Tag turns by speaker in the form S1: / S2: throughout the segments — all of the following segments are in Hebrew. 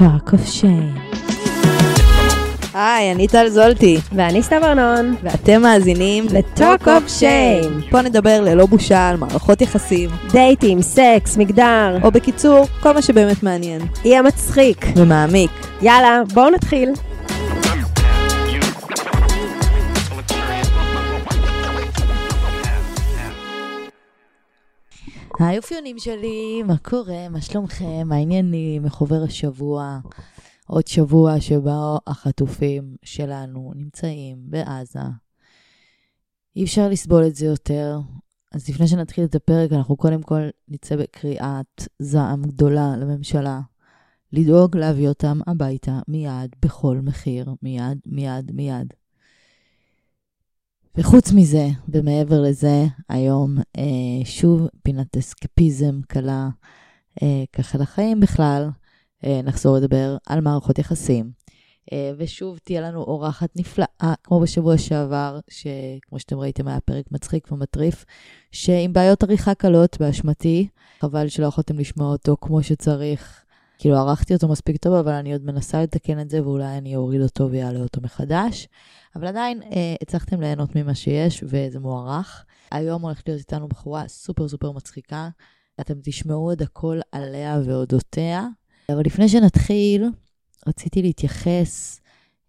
S1: Talk of Shame.
S2: היי, אני טל זולטי,
S3: ואני סתיו ארנון.
S2: ואתם מאזינים
S3: ל-Talk of Shame.
S2: פה נדבר ללא בושה על מערכות יחסים,
S3: דייטים, סקס, מגדר,
S2: או בקיצור, כל מה שבאמת מעניין.
S3: יהיה מצחיק.
S2: ומעמיק.
S3: יאללה, בואו נתחיל.
S1: היי אופיונים שלי, מה קורה? מה שלומכם? מה העניינים? איך עובר השבוע? עוד שבוע שבו החטופים שלנו נמצאים בעזה. אי אפשר לסבול את זה יותר. אז לפני שנתחיל את הפרק, אנחנו קודם כל נצא בקריאת זעם גדולה לממשלה. לדאוג להביא אותם הביתה מיד, בכל מחיר, מיד, מיד, מיד. וחוץ מזה, ומעבר לזה, היום אה, שוב פינת אסקפיזם קלה, אה, ככה לחיים בכלל, אה, נחזור לדבר על מערכות יחסים. אה, ושוב תהיה לנו אורחת נפלאה, כמו בשבוע שעבר, שכמו שאתם ראיתם היה פרק מצחיק ומטריף, שעם בעיות עריכה קלות באשמתי, חבל שלא יכולתם לשמוע אותו כמו שצריך. כאילו ערכתי אותו מספיק טוב, אבל אני עוד מנסה לתקן את זה, ואולי אני אוריד אותו ויעלה אותו מחדש. אבל עדיין אה, הצלחתם ליהנות ממה שיש, וזה מוערך. היום הולכת להיות איתנו בחורה סופר סופר מצחיקה. אתם תשמעו עוד הכל עליה ואודותיה. אבל לפני שנתחיל, רציתי להתייחס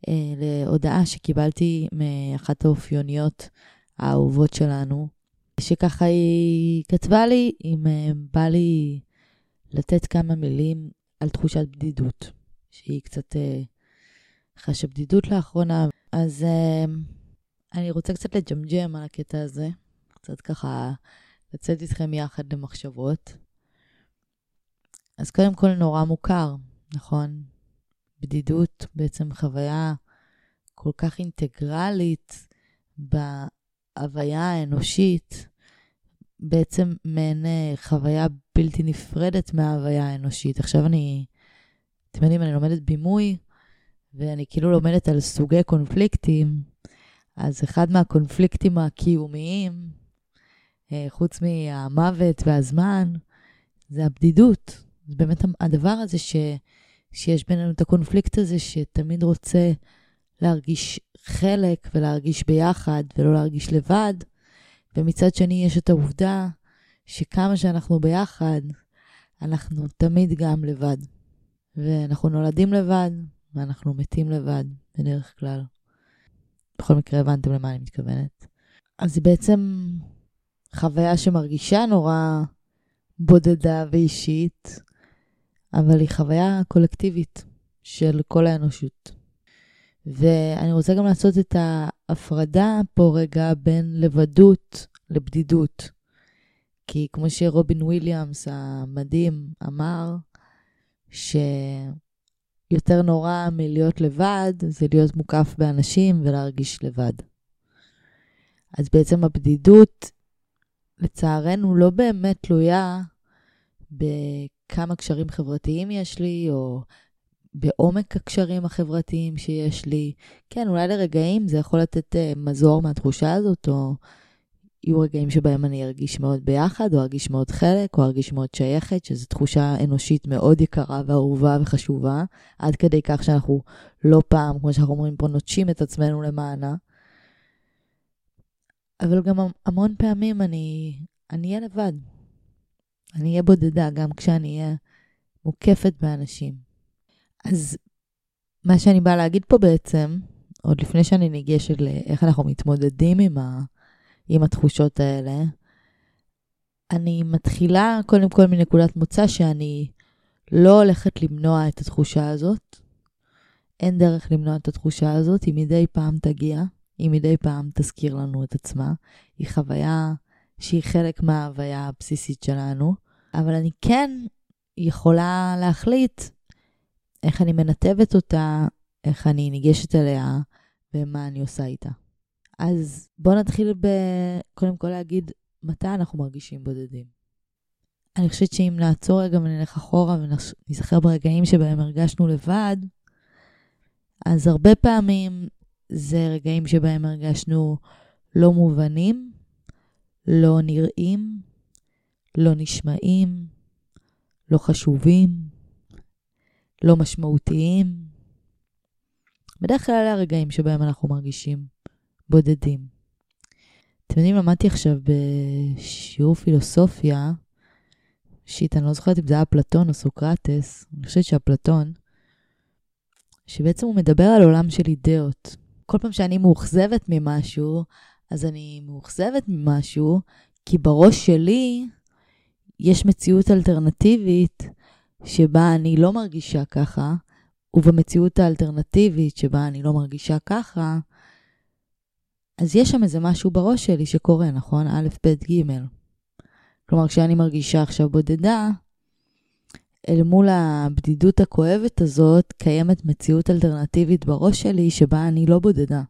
S1: אה, להודעה שקיבלתי מאחת האופיוניות האהובות שלנו, שככה היא כתבה לי אם אה, בא לי לתת כמה מילים על תחושת בדידות, שהיא קצת אה, חשה בדידות לאחרונה, אז אמ, אני רוצה קצת לג'מג'ם על הקטע הזה, קצת ככה לצאת איתכם יחד למחשבות. אז קודם כל נורא מוכר, נכון? בדידות בעצם חוויה כל כך אינטגרלית בהוויה האנושית, בעצם מעין אה, חוויה בלתי נפרדת מההוויה האנושית. עכשיו אני, אתם יודעים, אני לומדת בימוי, ואני כאילו לומדת על סוגי קונפליקטים, אז אחד מהקונפליקטים הקיומיים, אה, חוץ מהמוות והזמן, זה הבדידות. זה באמת הדבר הזה ש, שיש בינינו את הקונפליקט הזה, שתמיד רוצה להרגיש חלק ולהרגיש ביחד ולא להרגיש לבד, ומצד שני יש את העובדה שכמה שאנחנו ביחד, אנחנו תמיד גם לבד. ואנחנו נולדים לבד, ואנחנו מתים לבד, בדרך כלל. בכל מקרה, הבנתם למה אני מתכוונת. אז היא בעצם חוויה שמרגישה נורא בודדה ואישית, אבל היא חוויה קולקטיבית של כל האנושות. ואני רוצה גם לעשות את ההפרדה פה רגע בין לבדות לבדידות. כי כמו שרובין וויליאמס המדהים אמר, ש... יותר נורא מלהיות לבד, זה להיות מוקף באנשים ולהרגיש לבד. אז בעצם הבדידות, לצערנו, לא באמת תלויה בכמה קשרים חברתיים יש לי, או בעומק הקשרים החברתיים שיש לי. כן, אולי לרגעים זה יכול לתת אה, מזור מהתחושה הזאת, או יהיו רגעים שבהם אני ארגיש מאוד ביחד, או ארגיש מאוד חלק, או ארגיש מאוד שייכת, שזו תחושה אנושית מאוד יקרה ואהובה וחשובה, עד כדי כך שאנחנו לא פעם, כמו שאנחנו אומרים פה, נוטשים את עצמנו למענה. אבל גם המ- המון פעמים אני אני אהיה לבד. אני אהיה בודדה גם כשאני אהיה מוקפת באנשים. אז מה שאני באה להגיד פה בעצם, עוד לפני שאני ניגשת לאיך אנחנו מתמודדים עם ה... עם התחושות האלה. אני מתחילה קודם כל מנקודת מוצא שאני לא הולכת למנוע את התחושה הזאת. אין דרך למנוע את התחושה הזאת, היא מדי פעם תגיע, היא מדי פעם תזכיר לנו את עצמה. היא חוויה שהיא חלק מההוויה הבסיסית שלנו, אבל אני כן יכולה להחליט איך אני מנתבת אותה, איך אני ניגשת אליה ומה אני עושה איתה. אז בואו נתחיל ב... קודם כל להגיד מתי אנחנו מרגישים בודדים. אני חושבת שאם נעצור רגע ונלך אחורה ונזכר ברגעים שבהם הרגשנו לבד, אז הרבה פעמים זה רגעים שבהם הרגשנו לא מובנים, לא נראים, לא נשמעים, לא חשובים, לא משמעותיים. בדרך כלל אלה הרגעים שבהם אנחנו מרגישים בודדים. אתם יודעים, למדתי עכשיו בשיעור פילוסופיה, שיט, אני לא זוכרת אם זה היה אפלטון או סוקרטס, אני חושבת שאפלטון, שבעצם הוא מדבר על עולם של אידאות. כל פעם שאני מאוכזבת ממשהו, אז אני מאוכזבת ממשהו, כי בראש שלי יש מציאות אלטרנטיבית שבה אני לא מרגישה ככה, ובמציאות האלטרנטיבית שבה אני לא מרגישה ככה, אז יש שם איזה משהו בראש שלי שקורה, נכון? א', ב', ג'. כלומר, כשאני מרגישה עכשיו בודדה, אל מול הבדידות הכואבת הזאת, קיימת מציאות אלטרנטיבית בראש שלי שבה אני לא בודדה.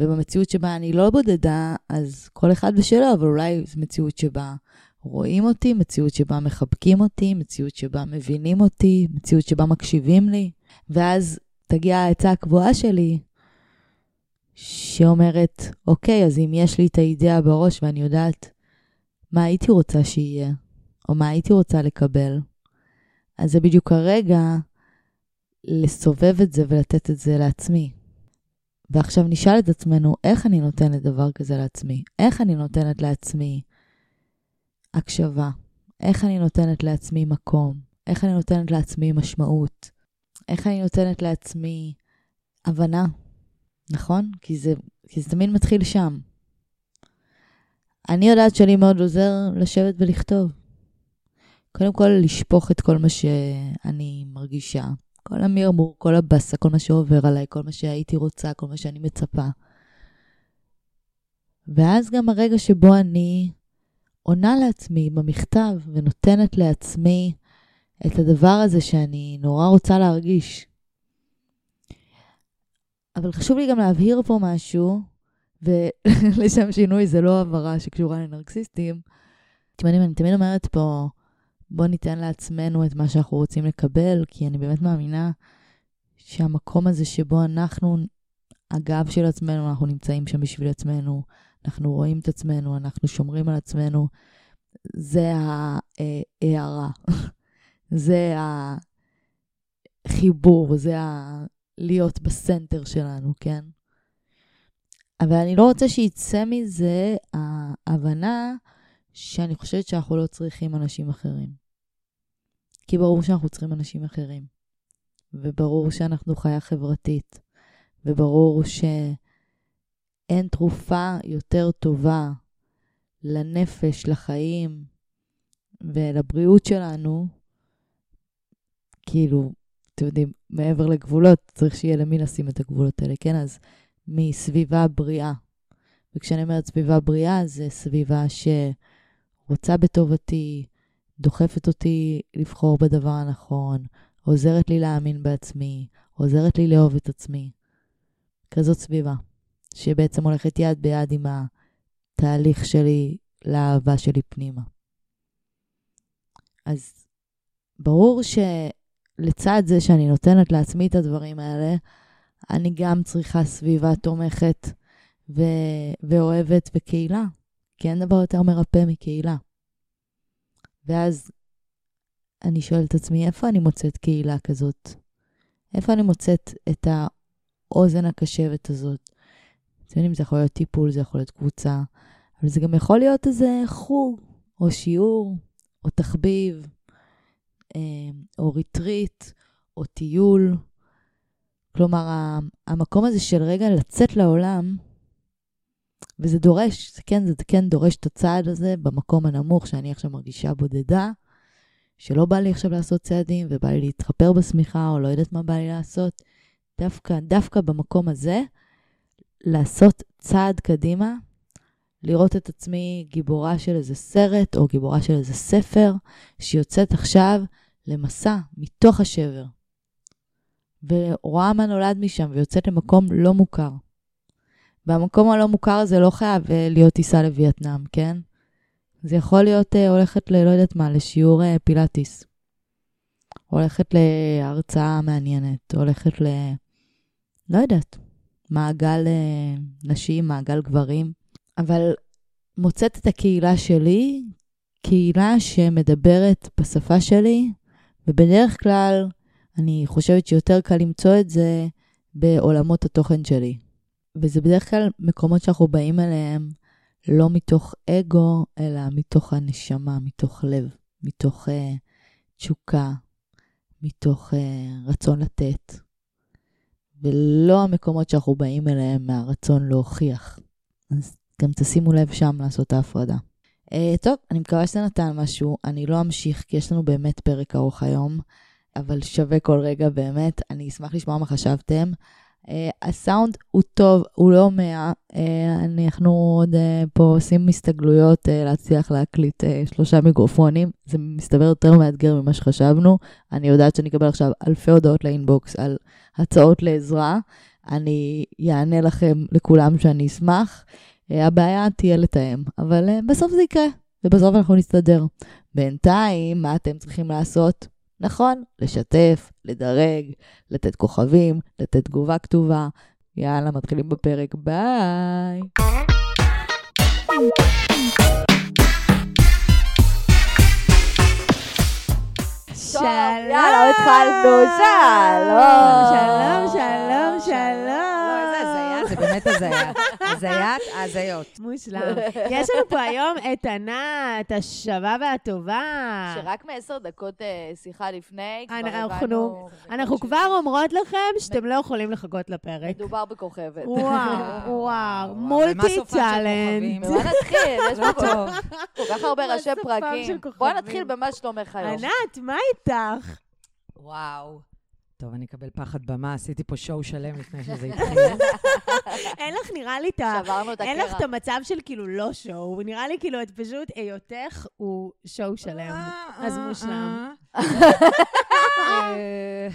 S1: ובמציאות שבה אני לא בודדה, אז כל אחד בשלו, אבל אולי זו מציאות שבה רואים אותי, מציאות שבה מחבקים אותי, מציאות שבה מבינים אותי, מציאות שבה מקשיבים לי. ואז תגיע העצה הקבועה שלי, שאומרת, אוקיי, אז אם יש לי את האידאה בראש ואני יודעת מה הייתי רוצה שיהיה, או מה הייתי רוצה לקבל, אז זה בדיוק הרגע לסובב את זה ולתת את זה לעצמי. ועכשיו נשאל את עצמנו, איך אני נותנת דבר כזה לעצמי? איך אני נותנת לעצמי הקשבה? איך אני נותנת לעצמי מקום? איך אני נותנת לעצמי משמעות? איך אני נותנת לעצמי הבנה? נכון? כי זה, כי זה תמיד מתחיל שם. אני יודעת שלי מאוד עוזר לשבת ולכתוב. קודם כל, לשפוך את כל מה שאני מרגישה. כל המרמור, כל הבאסה, כל מה שעובר עליי, כל מה שהייתי רוצה, כל מה שאני מצפה. ואז גם הרגע שבו אני עונה לעצמי במכתב ונותנת לעצמי את הדבר הזה שאני נורא רוצה להרגיש. אבל חשוב לי גם להבהיר פה משהו, ולשם שינוי זה לא הבהרה שקשורה לנרקסיסטים. אתם יודעים, אני תמיד אומרת פה, בואו ניתן לעצמנו את מה שאנחנו רוצים לקבל, כי אני באמת מאמינה שהמקום הזה שבו אנחנו הגב של עצמנו, אנחנו נמצאים שם בשביל עצמנו, אנחנו רואים את עצמנו, אנחנו שומרים על עצמנו, זה ההערה, זה החיבור, זה ה... להיות בסנטר שלנו, כן? אבל אני לא רוצה שיצא מזה ההבנה שאני חושבת שאנחנו לא צריכים אנשים אחרים. כי ברור שאנחנו צריכים אנשים אחרים, וברור שאנחנו חיה חברתית, וברור שאין תרופה יותר טובה לנפש, לחיים ולבריאות שלנו, כאילו, אתם יודעים, מעבר לגבולות, צריך שיהיה למי לשים את הגבולות האלה, כן? אז מסביבה בריאה. וכשאני אומרת סביבה בריאה, זה סביבה שרוצה בטובתי, דוחפת אותי לבחור בדבר הנכון, עוזרת לי להאמין בעצמי, עוזרת לי לאהוב את עצמי. כזאת סביבה, שבעצם הולכת יד ביד עם התהליך שלי לאהבה שלי פנימה. אז ברור ש... לצד זה שאני נותנת לעצמי את הדברים האלה, אני גם צריכה סביבה תומכת ו- ואוהבת וקהילה, כי אין דבר יותר מרפא מקהילה. ואז אני שואלת את עצמי, איפה אני מוצאת קהילה כזאת? איפה אני מוצאת את האוזן הקשבת הזאת? אתם יודעים, זה יכול להיות טיפול, זה יכול להיות קבוצה, אבל זה גם יכול להיות איזה חוג, או שיעור, או תחביב. אה, או ריטריט, או טיול. כלומר, המקום הזה של רגע לצאת לעולם, וזה דורש, זה כן, זה כן דורש את הצעד הזה במקום הנמוך, שאני עכשיו מרגישה בודדה, שלא בא לי עכשיו לעשות צעדים, ובא לי להתחפר בשמיכה, או לא יודעת מה בא לי לעשות. דווקא, דווקא במקום הזה, לעשות צעד קדימה, לראות את עצמי גיבורה של איזה סרט או גיבורה של איזה ספר שיוצאת עכשיו למסע מתוך השבר. ורואה מה נולד משם ויוצאת למקום לא מוכר. והמקום הלא מוכר הזה לא חייב uh, להיות טיסה לווייטנאם, כן? זה יכול להיות uh, הולכת ללא יודעת מה, לשיעור uh, פילאטיס. הולכת להרצאה מעניינת, הולכת ל... לא יודעת, מעגל uh, נשים, מעגל גברים. אבל מוצאת את הקהילה שלי, קהילה שמדברת בשפה שלי, ובדרך כלל אני חושבת שיותר קל למצוא את זה בעולמות התוכן שלי. וזה בדרך כלל מקומות שאנחנו באים אליהם לא מתוך אגו, אלא מתוך הנשמה, מתוך לב, מתוך אה, תשוקה, מתוך אה, רצון לתת. ולא המקומות שאנחנו באים אליהם מהרצון להוכיח. אז גם תשימו לב שם לעשות את ההפרדה. אה, טוב, אני מקווה שזה נתן משהו. אני לא אמשיך, כי יש לנו באמת פרק ארוך היום, אבל שווה כל רגע באמת. אני אשמח לשמוע מה חשבתם. אה, הסאונד הוא טוב, הוא לא מאה. אה, אנחנו עוד אה, פה עושים הסתגלויות אה, להצליח להקליט אה, שלושה מיקרופונים. זה מסתבר יותר מאתגר ממה שחשבנו. אני יודעת שאני אקבל עכשיו אלפי הודעות לאינבוקס על הצעות לעזרה. אני אענה לכם, לכולם, שאני אשמח. אה, הבעיה תהיה לתאם, אבל אה, בסוף זה יקרה, ובסוף אנחנו נסתדר. בינתיים, מה אתם צריכים לעשות? נכון, לשתף, לדרג, לתת כוכבים, לתת תגובה כתובה. יאללה, מתחילים בפרק, ביי. יאללה, התחלנו, שלום.
S4: שלום, שלום, שלום.
S5: לא, איזה הזיה, זה באמת הזיה. הזיית הזיות.
S4: מושלם. יש לנו פה היום את ענת, השווה והטובה.
S1: שרק מעשר דקות אה, שיחה לפני, כבר הבנו...
S4: אנחנו- אנחנו כבר אומרות לכם שאתם לא יכולים לחכות לפרק.
S1: מדובר בכוכבת.
S4: וואו, וואו,
S5: ומה סופם
S4: מולטי
S5: של
S4: טאלנט.
S5: כוכבים?
S1: במה נתחיל? יש
S5: לא
S1: פה כל-
S5: טוב.
S1: כל כך הרבה ראשי
S4: שפם
S1: פרקים.
S4: של
S1: בוא
S4: כוכבים.
S1: נתחיל במה שלומך היום.
S4: ענת, מה איתך?
S5: וואו. טוב, אני אקבל פחד במה, עשיתי פה שואו שלם לפני שזה התחיל.
S4: אין לך, נראה לי, את ה...
S1: שברנו את
S4: אין לך את
S1: הקרע.
S4: המצב של כאילו לא שואו, נראה לי כאילו את פשוט היותך הוא שואו שלם. אז מושלם.
S5: אה,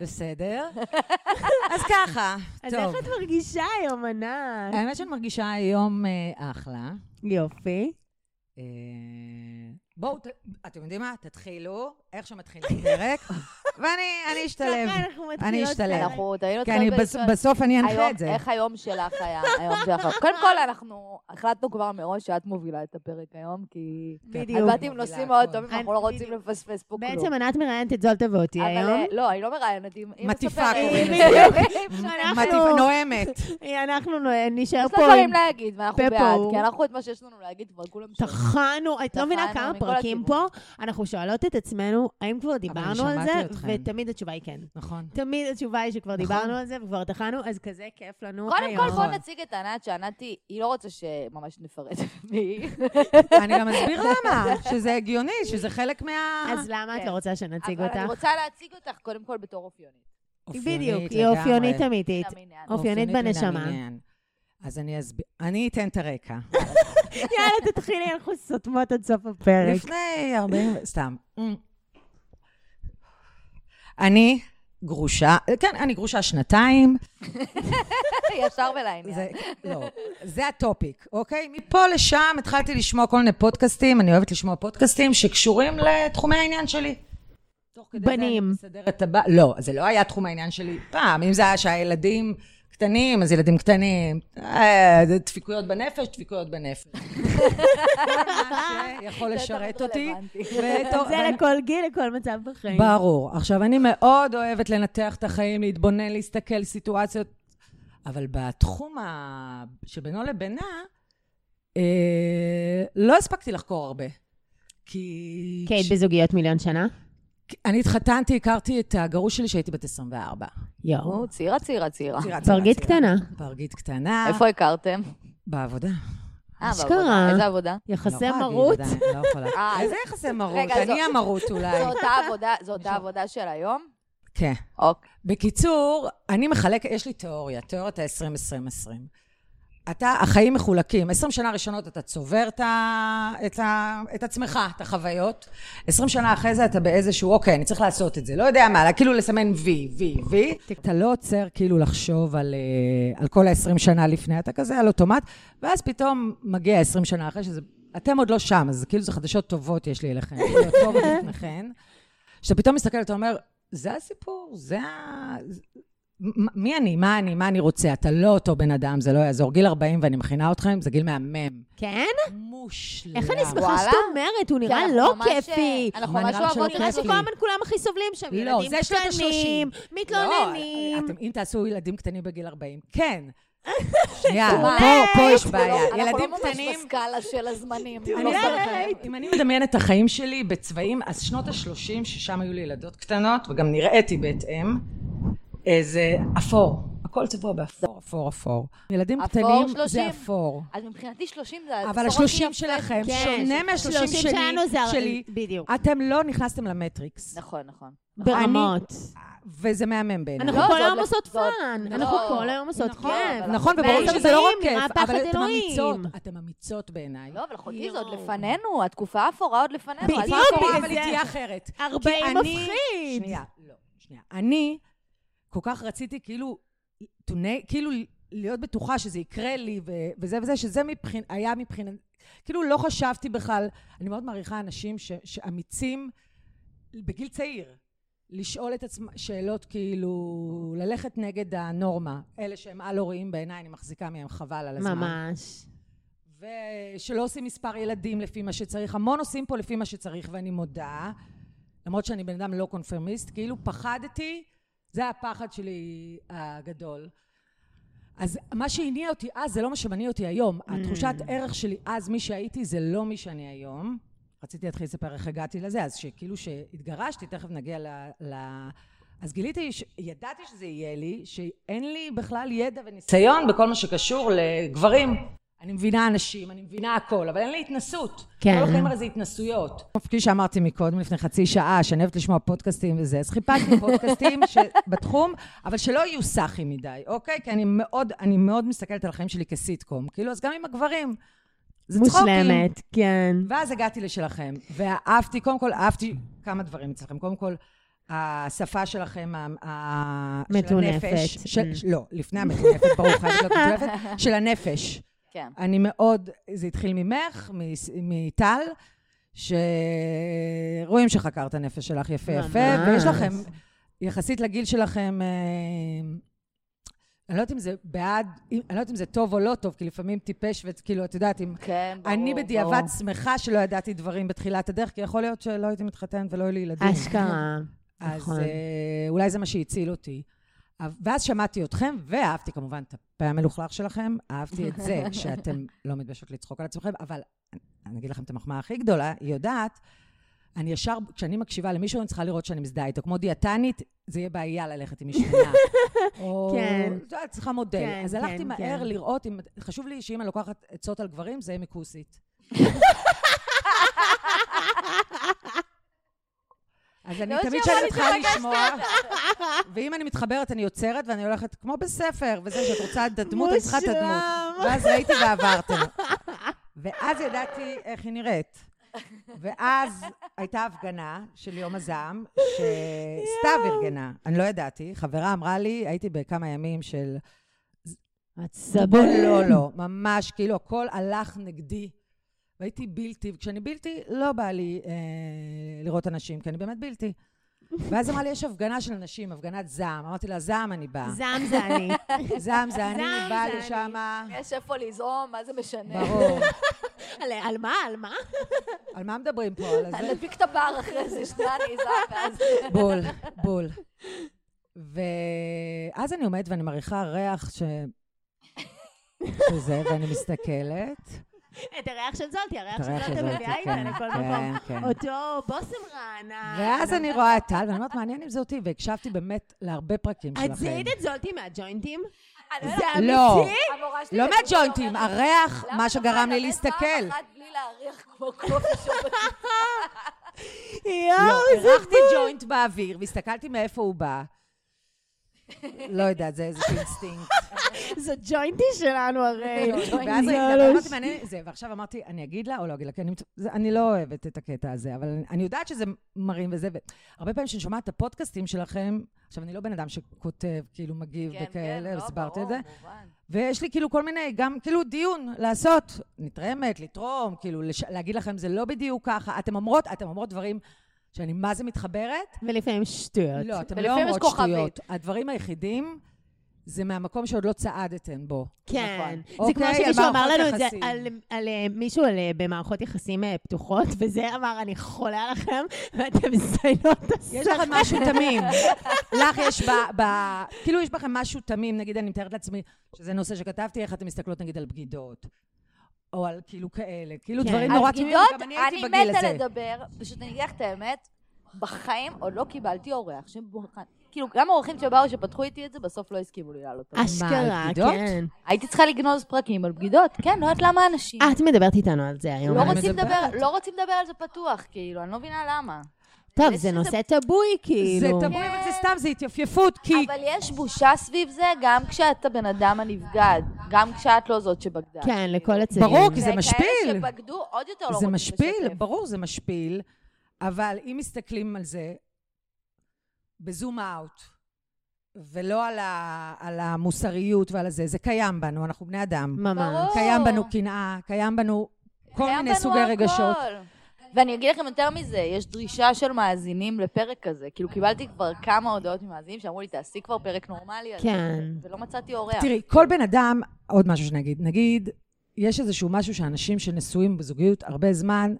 S5: בסדר. אז ככה,
S4: אז
S5: טוב.
S4: איך את מרגישה היום, ענת?
S5: האמת שאני מרגישה היום אה, אחלה.
S4: יופי.
S5: אה, בואו, ת- אתם יודעים מה? תתחילו, איך שמתחיל הפרק, ואני אני אשתלב.
S4: ככה אנחנו מתחילות.
S5: אני אשתלב.
S4: פרק.
S1: אנחנו תהיינו
S5: כי אני
S1: צריכות
S5: בס- בסוף אני אנחה
S1: היום-
S5: את זה.
S1: איך היום שלך היה? היום שלך. קודם כל, אנחנו החלטנו כבר מראש שאת מובילה את הפרק היום, כי... את
S4: בדיוק.
S1: באת עם נושאים מאוד טובים,
S4: אני-
S1: אנחנו לא רוצים
S4: בדיוק.
S1: לפספס פה כלום.
S4: בעצם ענת מראיינת את זולטה ואותי
S1: אבל,
S4: היום.
S1: אה, לא, אני לא מראיינת, היא היא
S5: מטיפה
S1: מספרת.
S5: קוראים
S1: היא
S5: לזה.
S1: בדיוק.
S4: אנחנו-
S5: מטיפה, נואמת.
S4: אנחנו נו- נשאר
S1: יש
S4: פה
S1: לה דברים
S4: עם...
S1: להגיד, ואנחנו
S4: פה
S1: בעד,
S4: פעור.
S1: כי אנחנו את מה שיש לנו להגיד כבר כולם שומעים.
S4: טחנו, את לא מבינה
S1: טחנו
S4: כמה
S1: מכל
S4: פרקים פה,
S1: הכיוון.
S4: אנחנו שואלות את עצמנו, האם כבר דיברנו על
S5: שמעתי
S4: זה?
S5: אתכן.
S4: ותמיד התשובה היא כן.
S5: נכון.
S4: תמיד התשובה היא שכבר
S5: נכון.
S4: דיברנו על זה וכבר טחנו, אז כזה כיף לנו
S1: קודם
S4: היום.
S1: כל, בוא נציג את ענת, שענת היא, היא לא רוצה שממש נפרט מי היא.
S5: אני גם אסביר למה, שזה הגיוני, שזה חלק מה...
S4: אז למה את
S1: כן.
S4: לא רוצה שנציג
S1: אבל אני
S4: אותך?
S1: רוצה להציג אותך קודם כל בתור אופיונית.
S5: אופיונית
S4: בדיוק, היא
S5: לגמרי.
S4: אופיונית אמיתית.
S1: מן המניין.
S4: אופ- אופיונית
S5: מן
S4: בנשמה.
S5: המניין. אז אני אסביר, אני אתן את הרקע.
S4: יאללה, תתחילי, אנחנו סותמות עד סוף הפרק.
S5: לפני 40... סתם. אני גרושה, כן, אני גרושה שנתיים.
S1: ישר ולעניין.
S5: זה, לא, זה הטופיק, אוקיי? מפה לשם התחלתי לשמוע כל מיני פודקאסטים, אני אוהבת לשמוע פודקאסטים שקשורים לתחומי העניין שלי. תוך כדי זה אני
S4: בנים.
S5: מסדרת את הבא... לא, זה לא היה תחום העניין שלי פעם. אם זה היה שהילדים קטנים, אז ילדים קטנים. אה, זה דפיקויות בנפש, דפיקויות בנפש. מה שיכול
S1: זה תמיד
S5: לשרת אותי.
S1: רלוונטי.
S5: ותוך-
S4: זה לכל גיל, לכל מצב בחיים.
S5: ברור. עכשיו, אני מאוד אוהבת לנתח את החיים, להתבונן, להסתכל, סיטואציות, אבל בתחום ה... שבינו לבינה, אה, לא הספקתי לחקור הרבה. כי...
S1: כן,
S4: כי היית בזוגיות מיליון שנה?
S5: אני התחתנתי, הכרתי את הגרוש שלי כשהייתי בת 24.
S1: אה,
S4: יואו.
S1: נו, צעירה, צעירה, צעירה.
S5: צעירה, צעירה,
S4: פרגית
S5: צעירה.
S4: קטנה.
S5: פרגית קטנה.
S1: איפה הכרתם?
S5: בעבודה.
S1: אה,
S4: אשכרה.
S1: בעבודה. איזה עבודה?
S4: יחסי
S5: לא יכולה
S4: מרות.
S5: להגיד, עדיין, לא יכולה.
S1: אה,
S5: איזה יחסי מרות?
S1: רגע, לא-
S5: אני
S1: זו-
S5: המרות אולי.
S1: זו אותה עבודה, זו אותה עבודה של היום?
S5: כן.
S1: אוקיי.
S5: בקיצור, אני מחלקת, יש לי תיאוריה, תיאוריית ה-20-20-20. אתה, החיים מחולקים. 20 שנה ראשונות אתה צובר את, ה, את, ה, את עצמך, את החוויות. 20 שנה אחרי זה אתה באיזשהו, אוקיי, אני צריך לעשות את זה. לא יודע מה, כאילו לסמן וי, וי, וי. אתה לא עוצר כאילו לחשוב על, אה, על כל ה-20 שנה לפני, אתה כזה על אוטומט, ואז פתאום מגיע 20 שנה אחרי שזה... אתם עוד לא שם, אז כאילו זה חדשות טובות יש לי אליכם. לא חדשות טובות לפניכם. כשאתה פתאום מסתכל, אתה אומר, זה הסיפור, זה ה... מ- מי אני? מה אני? מה אני רוצה? אתה לא אותו בן אדם, זה לא יעזור. גיל 40, ואני מכינה אתכם, זה גיל מהמם.
S4: כן?
S5: מושלם.
S4: איך אני שמחה
S1: וואלה?
S4: שאת אומרת?
S5: כן,
S4: הוא נראה לא כיפי.
S1: אנחנו
S5: מה,
S1: ממש
S5: נראה לך
S1: אוהבות
S5: שלא
S4: נראה
S5: כיפי?
S1: אותו.
S4: שכל הזמן כולם הכי סובלים שם.
S5: אה, לא,
S4: ילדים
S5: זה שנות
S4: קטנים,
S5: השלושים.
S4: מתלוננים.
S5: לא, אתם- אם תעשו ילדים קטנים בגיל 40, כן. שנייה,
S1: טירוף.
S5: פה, פה יש בעיה.
S1: אה, אנחנו לא
S5: ילדים
S1: ממש
S5: קטנים...
S1: בסקאלה של הזמנים.
S5: אני
S1: לא
S5: אומרת
S1: סומכת.
S5: לכם, אם אני מדמיינת את החיים שלי בצבעים, אז שנות ה-30, ששם היו לי ילדות קטנות, וגם נראיתי בהתאם, אה, זה אפור. הכל צבוע באפור, אפור, אפור. ילדים
S1: אפור,
S5: קטנים זה
S1: שלושים.
S5: אפור.
S1: אז מבחינתי 30 זה...
S5: אבל
S1: העשור הכי
S5: השלושים
S1: יפה.
S5: שלכם
S4: כן,
S5: שונה מהשלושים
S4: שלושים
S5: שלי,
S4: שלנו זה הר-
S5: שלי.
S4: בדיוק.
S5: אתם לא נכנסתם למטריקס,
S1: נכון, נכון.
S4: ברמות.
S5: וזה מהמם בעיניי.
S4: אנחנו
S1: לא,
S4: כל
S1: זה עוד
S4: היום
S1: לא-
S4: עושות
S1: זה עוד-
S4: פאן.
S1: נכון.
S4: אנחנו כל היום עושות כן. כיף.
S5: נכון, וברור
S4: ואז
S5: שזה לא רק
S4: אומרים, נראה
S5: כיף,
S4: פחד
S5: אבל אתם
S4: אלוהים.
S5: אמיצות, אתם אמיצות בעיניי.
S1: לא, אבל אחותי זה
S4: יואו.
S1: עוד לפנינו, התקופה האפורה עוד לפנינו. אז
S5: בדיוק,
S1: מה
S4: בגלל
S1: קורה?
S5: אבל היא
S4: זה.
S5: תהיה אחרת. כי
S4: 40
S5: אני-
S4: מפחיד.
S5: שנייה, לא, שנייה. אני כל כך רציתי כאילו, to na- כאילו להיות בטוחה שזה יקרה לי ו- וזה וזה, שזה מבחינ- היה מבחינת... כאילו לא חשבתי בכלל, אני מאוד מעריכה אנשים ש- שאמיצים בגיל צעיר. לשאול את עצמם שאלות כאילו, ללכת נגד הנורמה. אלה שהם על-הוריים בעיניי, אני מחזיקה מהם חבל על הזמן.
S4: ממש.
S5: ושלא עושים מספר ילדים לפי מה שצריך. המון עושים פה לפי מה שצריך, ואני מודה, למרות שאני בן אדם לא קונפרמיסט, כאילו פחדתי, זה הפחד שלי הגדול. אז מה שהניע אותי אז זה לא מה שמניע אותי היום. התחושת ערך שלי אז, מי שהייתי, זה לא מי שאני היום. רציתי להתחיל לספר איך הגעתי לזה, אז שכאילו שהתגרשתי, תכף נגיע ל... ל... אז גיליתי, ש... ידעתי שזה יהיה לי, שאין לי בכלל ידע וניסיון בכל מה שקשור לגברים. אני מבינה אנשים, אני מבינה הכל, אבל אין לי התנסות. לא
S4: כן.
S5: כל החיים הרי זה התנסויות. כפי שאמרתי מקודם, לפני חצי שעה, שאני אוהבת לשמוע פודקאסטים וזה, אז חיפשתי פודקאסטים ש... בתחום, אבל שלא יהיו סאחים מדי, אוקיי? כי אני מאוד, אני מאוד מסתכלת על החיים שלי כסיטקום. כאילו, אז גם עם הגברים. זה צחוקים.
S4: מושלמת, כן.
S5: ואז הגעתי לשלכם, ואהבתי, קודם כל אהבתי כמה דברים אצלכם. קודם כל, השפה שלכם, ה- ה-
S4: מטונפת.
S5: של הנפש. של,
S4: Mm.
S5: לא, לפני המטונפת, ברור, חייבת להיות מטונפת, של הנפש.
S1: כן.
S5: אני מאוד, זה התחיל ממך, מס- מטל, שרואים שחקרת הנפש שלך יפה
S1: אה,
S5: יפה,
S4: ממש.
S5: ויש לכם, יחסית לגיל שלכם, אה, אני לא יודעת אם זה בעד, אם- אני לא יודעת אם זה טוב או לא טוב, כי לפעמים טיפש, וכאילו, את יודעת, אם
S1: כן, ברור.
S5: אני בדיעבד
S1: ברור.
S5: שמחה שלא ידעתי דברים בתחילת הדרך, כי יכול להיות שלא הייתי מתחתנת ולא היו לי ילדים.
S4: אשכרה.
S5: אז
S4: נכון.
S5: אה, אולי זה מה שהציל אותי. אבל- ואז שמעתי אתכם, ואהבתי כמובן את הפה המלוכלך שלכם, אהבתי את זה שאתם לא מתביישות לצחוק על עצמכם, אבל אני אגיד לכם את המחמאה הכי גדולה, היא יודעת, אני ישר, כשאני מקשיבה למישהו, אני צריכה לראות שאני מזדהה איתו. כמו דיאטנית, זה יהיה בעיה ללכת עם משתנה. או,
S4: כן.
S5: את יודעת, צריכה מודל.
S4: כן,
S5: אז הלכתי
S4: כן,
S5: מהר
S4: כן.
S5: לראות אם... חשוב לי שאם אני לוקחת עצות על גברים, זה יהיה מכוסית. אז אני
S1: לא
S5: תמיד
S1: שמעתי
S5: כשאני מתחילה לשמוע, ואם אני מתחברת, אני עוצרת ואני הולכת כמו בספר, וזה שאת רוצה את הדמות, אני צריכה את הדמות.
S4: מושלם.
S5: ואז ראיתי ועברתם. ואז ידעתי איך היא נראית. ואז הייתה הפגנה של יום הזעם, שסתיו ארגנה. אני לא ידעתי, חברה אמרה לי, הייתי בכמה ימים של...
S4: עצבון.
S5: לא, לא, ממש, כאילו הכל הלך נגדי. והייתי בלתי, וכשאני בלתי, לא בא לי אה, לראות אנשים, כי אני באמת בלתי. ואז אמרה לי, יש הפגנה של אנשים, הפגנת זעם. אמרתי לה, זעם אני באה.
S4: זעם זה אני.
S5: זעם זה אני,
S4: זעם
S5: באה
S4: זה אני.
S5: לשמה.
S1: יש איפה לזעום, מה זה משנה?
S5: ברור.
S4: על- על מה? על מה?
S5: על מה מדברים פה? על הזה?
S1: נדביק את הבר אחרי זה, שנייה אני אזעם, ואז...
S5: בול, בול. ואז אני עומדת ואני מריחה ריח ש... שזה, ואני מסתכלת.
S4: את הריח של זולטי, הריח
S5: את
S4: של
S5: הריח של
S4: זולטי
S5: זאתי,
S4: מביאה איתה
S5: כן,
S4: לכל
S5: כן,
S4: מקום.
S5: כן.
S4: אותו בושם רענן.
S5: ואז אני רואה את טל, ואני אומרת, מעניין אם זה אותי, והקשבתי באמת להרבה פרקים
S4: את
S5: שלכם.
S4: זיהית את זולטי מהג'וינטים?
S1: אני לא
S4: זה
S1: יודעת,
S5: לא,
S4: אמיתי?
S1: המורה שלי
S5: לא
S1: תמיד
S5: מהג'וינטים,
S1: אומרת,
S5: הריח,
S1: "למה
S5: מה
S1: את
S5: שגרם לי
S1: אומרת,
S5: להסתכל.
S1: פעם אחת בלי להריח כמו קופי שופט.
S4: יואו,
S5: לא, הרחתי ג'וינט באוויר, והסתכלתי מאיפה הוא בא. לא יודעת, זה איזשהו אינסטינקט.
S4: זה ג'וינטי שלנו הרי.
S5: ואז
S4: זה
S5: רגע,
S4: לא
S5: ואמרתי,
S4: ש-
S5: מעניין, זה, ועכשיו אמרתי, אני אגיד לה או לא אגיד לה, כי אני, מצ- זה- אני לא אוהבת את הקטע הזה, אבל אני- אני יודעת שזה מרים וזה, והרבה פעמים כשאני שומעת את הפודקאסטים שלכם, עכשיו, אני לא בן אדם שכותב, כאילו מגיב
S1: כן, כן,
S5: וכאלה,
S1: לא,
S5: הסברתי את
S1: ברור,
S5: זה,
S1: מובן.
S5: ויש לי כאילו כל מיני, גם כאילו דיון לעשות, נתרמת, לתרום, כאילו לש... להגיד לכם, זה לא בדיוק ככה, אתם אומרות, אתם אומרות דברים שאני מה זה מתחברת,
S4: ולפעמים שטויות.
S5: לא, אתם לא
S1: ולפעמים יש
S5: אומרות
S1: כוכבית.
S5: שטויות. הדברים היחידים זה מהמקום שעוד לא צעדתן בו.
S4: כן. זה
S5: אוקיי,
S4: כמו
S5: על
S4: שמישהו אמר
S5: מערכות
S4: לנו את זה
S5: יחסים.
S4: על- על אה, מישהו על, אה, במערכות יחסים אה, פתוחות, וזה אמר, אני חולה עליכם, ואתם מזיינות את
S5: יש לכם משהו תמים. לך יש ב... ב- כאילו יש בכם משהו תמים, נגיד, אני מתארת לעצמי שזה נושא שכתבתי, איך אתן מסתכלות נגיד על בגידות. או על כאילו כאלה, כאילו
S4: כן.
S5: דברים
S1: על
S5: נורא תמימים,
S1: בגידות,
S5: גם אני הייתי
S1: אני
S5: בגיל
S1: מתה
S5: הזה.
S1: לדבר, פשוט אני אגיד לך את האמת, בחיים עוד לא קיבלתי אורח שבוחן. כאילו, גם האורחים שבאו, שפתחו איתי את זה, בסוף לא הסכימו לי לעלות.
S4: אה,
S1: אותם.
S4: אשכרה,
S5: בגידות?
S4: כן.
S1: הייתי צריכה לגנוז פרקים על בגידות, כן, לא יודעת למה אנשים
S4: אה, את מדברת איתנו על זה היום.
S1: לא
S5: אני
S1: רוצים לדבר-
S5: מדברת.
S1: לא רוצים לדבר על זה פתוח, כאילו, אני לא מבינה למה.
S4: טוב,
S1: יש
S4: זה
S1: את
S4: נושא טבוי, כאילו.
S5: זה תמוי, אבל זה סתם, זה התייפייפות, כי...
S1: אבל יש בושה סביב זה גם כשאתה בן אדם הנבגד, גם כשאת לא זאת שבגדה.
S4: כן, לכל הצדדים.
S5: ברור, כי זה
S1: וכאלה
S5: משפיל.
S1: שבגדו עוד יותר לא
S5: זה
S1: רוצים לשתף.
S5: משפיל, ברור, זה משפיל, אבל אם מסתכלים על זה בזום אאוט, ולא על, ה, על המוסריות ועל הזה, זה קיים בנו, אנחנו בני אדם.
S4: ממש.
S1: ברור.
S5: קיים בנו קנאה, קיים בנו כל
S1: היה
S5: מיני
S1: לא. בנו
S5: סוגי
S1: הכל.
S5: רגשות.
S1: ואני אגיד לכם יותר מזה, יש דרישה של מאזינים לפרק כזה. כאילו, קיבלתי כבר כמה הודעות ממאזינים שאמרו לי, תעשי כבר פרק נורמלי על זה,
S4: כן.
S1: ולא מצאתי אורח. לא,
S5: תראי, כל בן אדם, עוד משהו שנגיד, נגיד, יש איזשהו משהו שאנשים שנשואים בזוגיות הרבה זמן,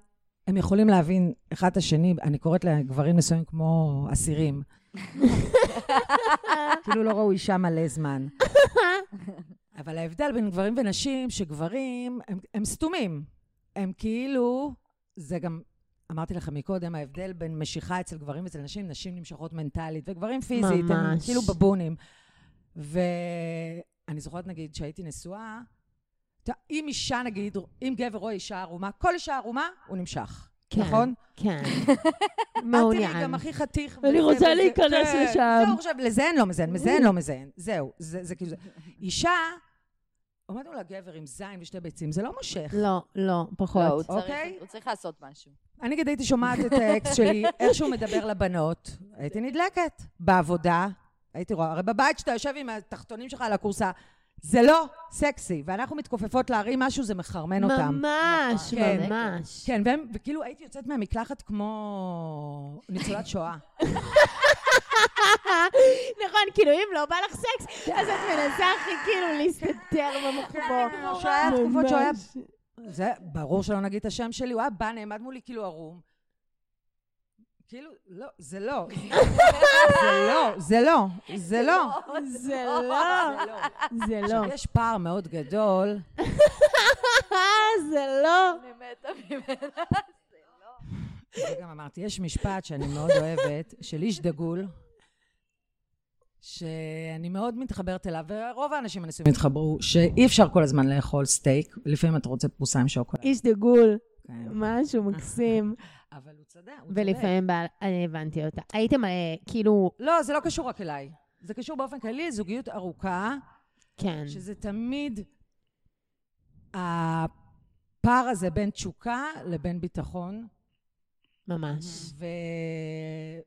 S5: הם יכולים להבין אחד את השני, אני קוראת לגברים נשואים כמו אסירים. כאילו לא ראו אישה מלא זמן. אבל ההבדל בין גברים ונשים, שגברים, הם, הם סתומים. הם כאילו, זה גם, אמרתי לכם מקודם, ההבדל בין משיכה אצל גברים ואצל נשים, נשים נמשכות מנטלית, וגברים פיזית, הם
S4: ממש.
S5: כאילו בבונים. ואני זוכרת, נגיד, שהייתי נשואה, אתה- אם אישה, נגיד, אם גבר רואה אישה ערומה, כל אישה ערומה, הוא נמשך.
S4: כן.
S5: נכון?
S4: כן.
S5: אל תראי,
S4: מעוניין.
S5: גם הכי חתיך.
S4: אני
S5: וזה
S4: רוצה
S5: וזה.
S4: להיכנס
S5: כן.
S4: לשם.
S5: זהו, עכשיו, לזיין לא מזיין, מזיין לא מזיין. זהו, זה זה כאילו זה. אישה, עומד מול הגבר עם זין ושתי ביצים, זה לא מושך.
S4: לא, לא,
S1: לא, הוא
S4: פחות.
S1: צריך-
S5: אוקיי.
S1: הוא צריך לעשות משהו.
S5: אני נגיד הייתי שומעת את האקס שלי, איך שהוא מדבר לבנות, הייתי נדלקת. בעבודה, הייתי רואה, הרי בבית שאתה יושב עם התחתונים שלך על הכורסה, זה לא סקסי, ואנחנו מתכופפות להרים משהו, זה מחרמן אותם.
S4: ממש,
S5: כן.
S4: ממש.
S5: כן, והם, וכאילו הייתי יוצאת מהמקלחת כמו ניצולת שואה.
S4: נכון, כאילו, אם לא בא לך סקס, אז את מנסה הכי כאילו להסתתר במחבור.
S5: שהוא היה תקופות שהוא היה...
S4: ממש.
S5: זה, ברור שלא נגיד את השם שלי, הוא היה בא, נעמד מולי כאילו ערום. כאילו, לא, זה לא. זה לא, זה לא, זה לא.
S4: זה לא,
S5: זה לא.
S4: זה לא.
S5: עכשיו, יש פער מאוד גדול.
S4: אה, זה לא.
S1: אני מתה ממנו.
S5: וגם אמרתי, יש משפט שאני מאוד אוהבת, של איש דגול, שאני מאוד מתחברת אליו, ורוב האנשים הנשואים התחברו, שאי אפשר כל הזמן לאכול סטייק, לפעמים אתה רוצה פרוסה עם שוקולד.
S4: איש דגול,
S5: כן.
S4: משהו מקסים.
S5: אבל הוא צודק, הוא צודק.
S4: ולפעמים בעל, אני הבנתי אותה. הייתם אה, כאילו,
S5: לא, זה לא קשור רק אליי. זה קשור באופן כללי לזוגיות ארוכה,
S4: כן.
S5: שזה תמיד הפער הזה בין תשוקה לבין ביטחון,
S1: Mm.
S4: ממש.
S5: ו...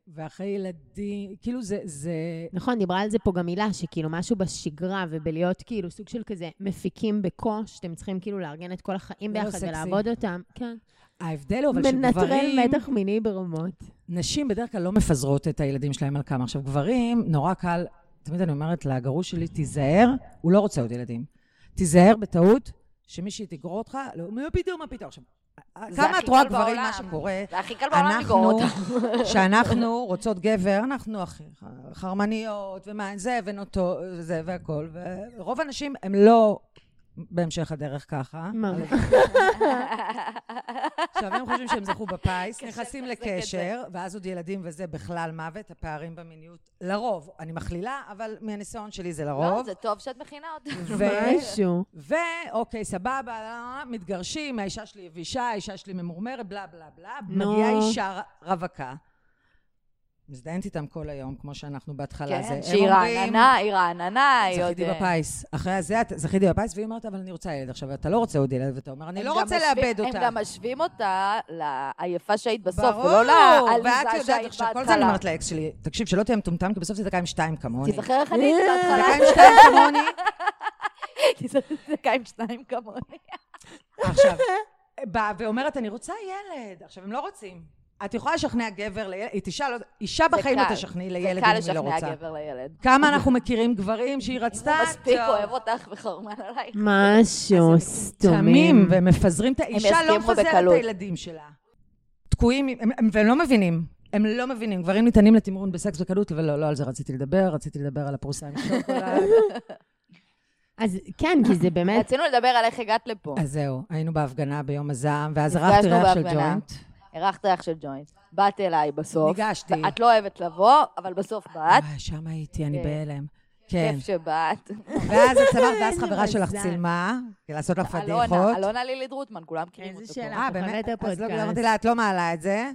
S5: ואחרי ילדים, כאילו זה, זה...
S4: נכון, דיברה על זה פה גם מילה, שכאילו משהו בשגרה ובלהיות כאילו סוג של כזה מפיקים בקוש, שאתם צריכים כאילו לארגן את כל החיים
S5: זה לא
S4: ביחד
S5: סקסי.
S4: ולעבוד אותם. כן.
S5: ההבדל הוא אבל
S4: מנטרל
S5: שגברים...
S4: מתח מיני ברמות.
S5: נשים בדרך כלל לא מפזרות את הילדים שלהם על כמה. עכשיו, גברים, נורא קל, תמיד אני אומרת לגרוש שלי, תיזהר, הוא לא רוצה עוד ילדים. תיזהר בטעות שמישהי תגרור אותך, לא, מה פתאום, מה פתאום. עכשיו,
S1: זה
S5: כמה
S1: הכי
S5: את רואה
S1: קל
S5: גברים,
S1: בעולם.
S5: מה שקורה,
S1: זה הכי קל בעולם לגרור
S5: אנחנו,
S1: אותה.
S5: שאנחנו רוצות גבר, אנחנו הכי ח- חרמניות, ומה, זה, ונוטו, זה, והכל, ורוב הנשים הם לא בהמשך הדרך ככה.
S4: ממש.
S5: עכשיו, הם חושבים שהם זכו בפיס, נכנסים
S1: לתחזק את
S5: לקשר, ואז עוד ילדים וזה בכלל מוות, הפערים במיניות, לרוב, אני מכלילה, אבל מהניסיון שלי זה
S1: לא,
S5: לרוב.
S1: זה טוב שאת מכינה אותה. כן.
S5: ו...
S4: משהו.
S5: ואוקיי, אוקיי, סבבה, אה, מתגרשים, האישה שלי יבישה, האישה שלי ממורמרת, בלה בלה בלה.
S4: נו.
S5: מגיעה אישה ר- רווקה. מזדיינת איתם כל היום, כמו שאנחנו בהתחלה. זה.
S1: כן,
S5: הם
S1: שהיא
S5: אומרים,
S1: רעננה, היא רעננה, היא עוד...
S5: זכיתי
S1: אה,
S5: בפיס. אחרי זה, את- זכיתי בפיס, והיא אומרת, אבל אני רוצה ילד עכשיו, ואתה לא רוצה עוד ילד, ואתה אומר, אני
S1: הם
S5: לא
S1: גם
S5: רוצה
S1: משווים-
S5: לאבד אותה.
S1: הם גם משווים אותה לעייפה שהיית בסוף, לא
S5: ברור,
S1: ולא
S5: ואת
S1: לעליזה
S5: יודעת
S1: שהיית
S5: עכשיו, כל זה אני
S1: בהתחלה.
S5: אומרת לאקס שלי, תקשיב, שלא תהיה מטומטם, כי בסוף תזדקה עם שתיים כמוני.
S1: תיזכר איך אני הייתי בהתחלה,
S5: תזדקה עם
S1: תיזכר עם שניים
S5: שתיים כמוני.
S1: כמוני.
S5: עכשיו, באה ואומרת, אני רוצה ילד. עכשיו, הם לא רוצים. את יכולה לשכנע גבר, לילד, היא תשאל, לא- אישה בחיים לא
S6: קל.
S5: תשכנעי
S6: זה
S5: לילד
S6: קל
S5: אם היא לא
S6: לשכנע
S5: רוצה.
S6: גבר לילד.
S5: כמה אנחנו מכירים גברים שהיא רצתה,
S6: הוא מספיק
S5: טוב.
S6: אוהב אותך וחורמן עלייך.
S4: משהו
S5: תמים,
S4: סתומים.
S5: ומפזרים את ה... אישה לא
S6: יסכימו
S5: מפזרת את
S6: בקלות.
S5: הילדים שלה. תקועים, עם- הם, הם, והם לא מבינים. הם לא מבינים. גברים ניתנים לתמרון בסקס בקלות, ולא, לא על זה רציתי לדבר, רציתי לדבר על הפרוסה עם שוקולד.
S4: אז כן, כי זה באמת...
S6: רצינו לדבר על איך הגעת לפה.
S5: אז זהו, היינו בהפגנה ביום הזעם, ואז
S6: נפגשנו
S5: ערכתי ריח של
S6: בהפגנה.
S5: ג'וינט.
S6: אירחת ריח של ג'וינט. באת אליי בסוף.
S5: ניגשתי.
S6: את לא אוהבת לבוא, אבל בסוף באת.
S5: אה, שם הייתי, אני
S6: כן.
S5: בהלם. כן.
S6: כיף שבאת.
S5: ואז את צמרת, ואז חברה
S4: מזל.
S5: שלך צילמה, כדי לעשות לך
S6: אלונה,
S5: פדיחות.
S6: אלונה לילית רוטמן, כולם מכירים
S4: איזה
S6: אותה.
S4: שאלה.
S5: אה,
S4: אנחנו
S5: באמת?
S4: חלק
S5: אז לא
S4: הפודקאסט.
S5: אמרתי לה, את לא מעלה את זה.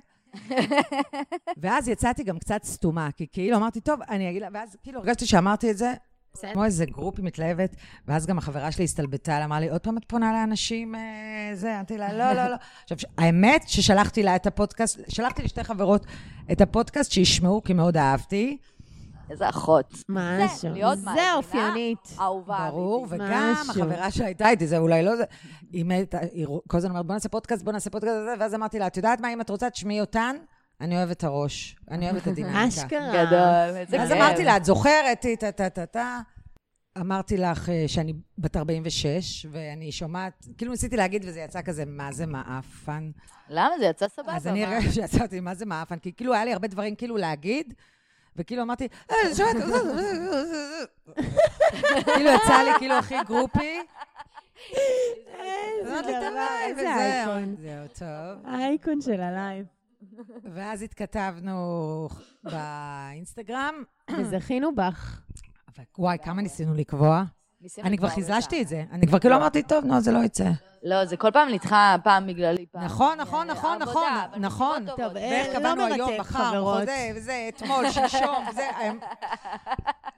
S5: ואז יצאתי גם קצת סתומה, כי כאילו אמרתי, טוב, אני אגיד לה, ואז כאילו הרגשתי שאמרתי את זה,
S4: בסדר.
S5: כמו איזה גרופי מתלהבת, ואז גם החברה שלי הסתלבטה, לה, אמרה לי, עוד פעם את פונה לאנשים, אה, זה, אמרתי לה, לא, לא, לא. עכשיו, ש- האמת ששלחתי לה את הפודקאסט, שלחתי לשתי חברות את הפודקאסט שישמעו, כי מאוד אהבתי,
S6: פה. איזה אחות.
S4: משהו.
S6: להיות
S4: זה
S6: מאזינה.
S4: אופיינית.
S6: אהובה.
S5: ברור,
S6: אמיתית.
S5: וגם
S4: משהו.
S5: החברה שהייתה איתי, זה אולי לא זה, היא מתה, היא רוא- כל הזמן אומרת, בוא נעשה פודקאסט, בוא נעשה פודקאסט, וזה", ואז אמרתי לה, את יודעת מה, אם את רוצה, תשמעי אותן, אני אוהבת את הראש, אני אוהבת את הדינמיקה.
S4: אשכרה. כן.
S6: גדול. איזה
S5: אז
S6: כיף.
S5: אמרתי לה, את זוכרת, טה טה טה טה. אמרתי לך אה, שאני בת 46, ואני שומעת, כאילו ניסיתי להגיד, וזה יצא כזה, מה אה, זה מעפן?
S6: למה זה יצא סבבה?
S5: אז אני
S6: מה?
S5: הרגע שיצאתי, מה זה מעפן? כי כאילו היה לי הרבה דברים כאילו להגיד, וכאילו אמרתי, "אה, זה שומעת, זה, זה, זה, זה, זה." כאילו יצא לי כאילו הכי גרופי. איזה
S4: דבר, איזה אייפון.
S5: זהו, טוב.
S4: האייקון של הלייב.
S5: ואז התכתבנו באינסטגרם,
S4: וזכינו בך.
S5: אבל וואי, כמה ניסינו לקבוע.
S6: ניסינו
S5: אני כבר
S6: אותה.
S5: חיזשתי את זה. אני כבר כאילו אמרתי, טוב, נו, זה לא יצא.
S6: לא, זה כל פעם נדחה, פעם בגללי, פעם.
S5: נכון, נכון, נכון,
S6: עבודה,
S5: נכון,
S6: אבל
S5: נכון.
S6: נסיבות טובות.
S4: טוב, אה,
S5: ואיך
S4: לא
S5: קבענו
S4: מרתק,
S5: היום, מחר,
S4: חברות.
S5: חוזה, וזה, אתמול, שלשום, זה...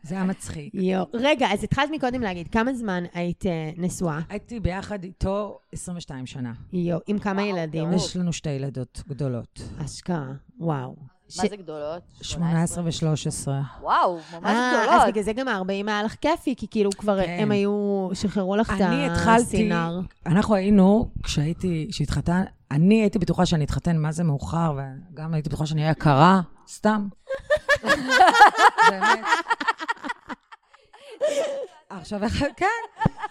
S5: זה היה מצחיק.
S4: יו. רגע, אז התחלת מקודם להגיד, כמה זמן היית אה, נשואה?
S5: הייתי ביחד איתו 22 שנה.
S4: יו. עם כמה
S6: וואו,
S4: ילדים?
S6: ברור.
S5: יש לנו שתי ילדות גדולות.
S4: אשכרה. וואו. ש-
S6: מה זה גדולות?
S5: 18 ו-13.
S6: וואו, ממש
S4: אה, אז
S6: גדולות.
S4: בגלל זה גם ה-40 היה לך כיפי, כי כאילו כבר
S5: כן.
S4: הם היו, שחררו לך את
S5: אני התחלתי,
S4: הסינר.
S5: אנחנו היינו, כשהייתי, כשהתחתן, אני הייתי בטוחה שאני אתחתן מה זה מאוחר, וגם הייתי בטוחה שאני אהיה יקרה, סתם. באמת. עכשיו, איך- כן,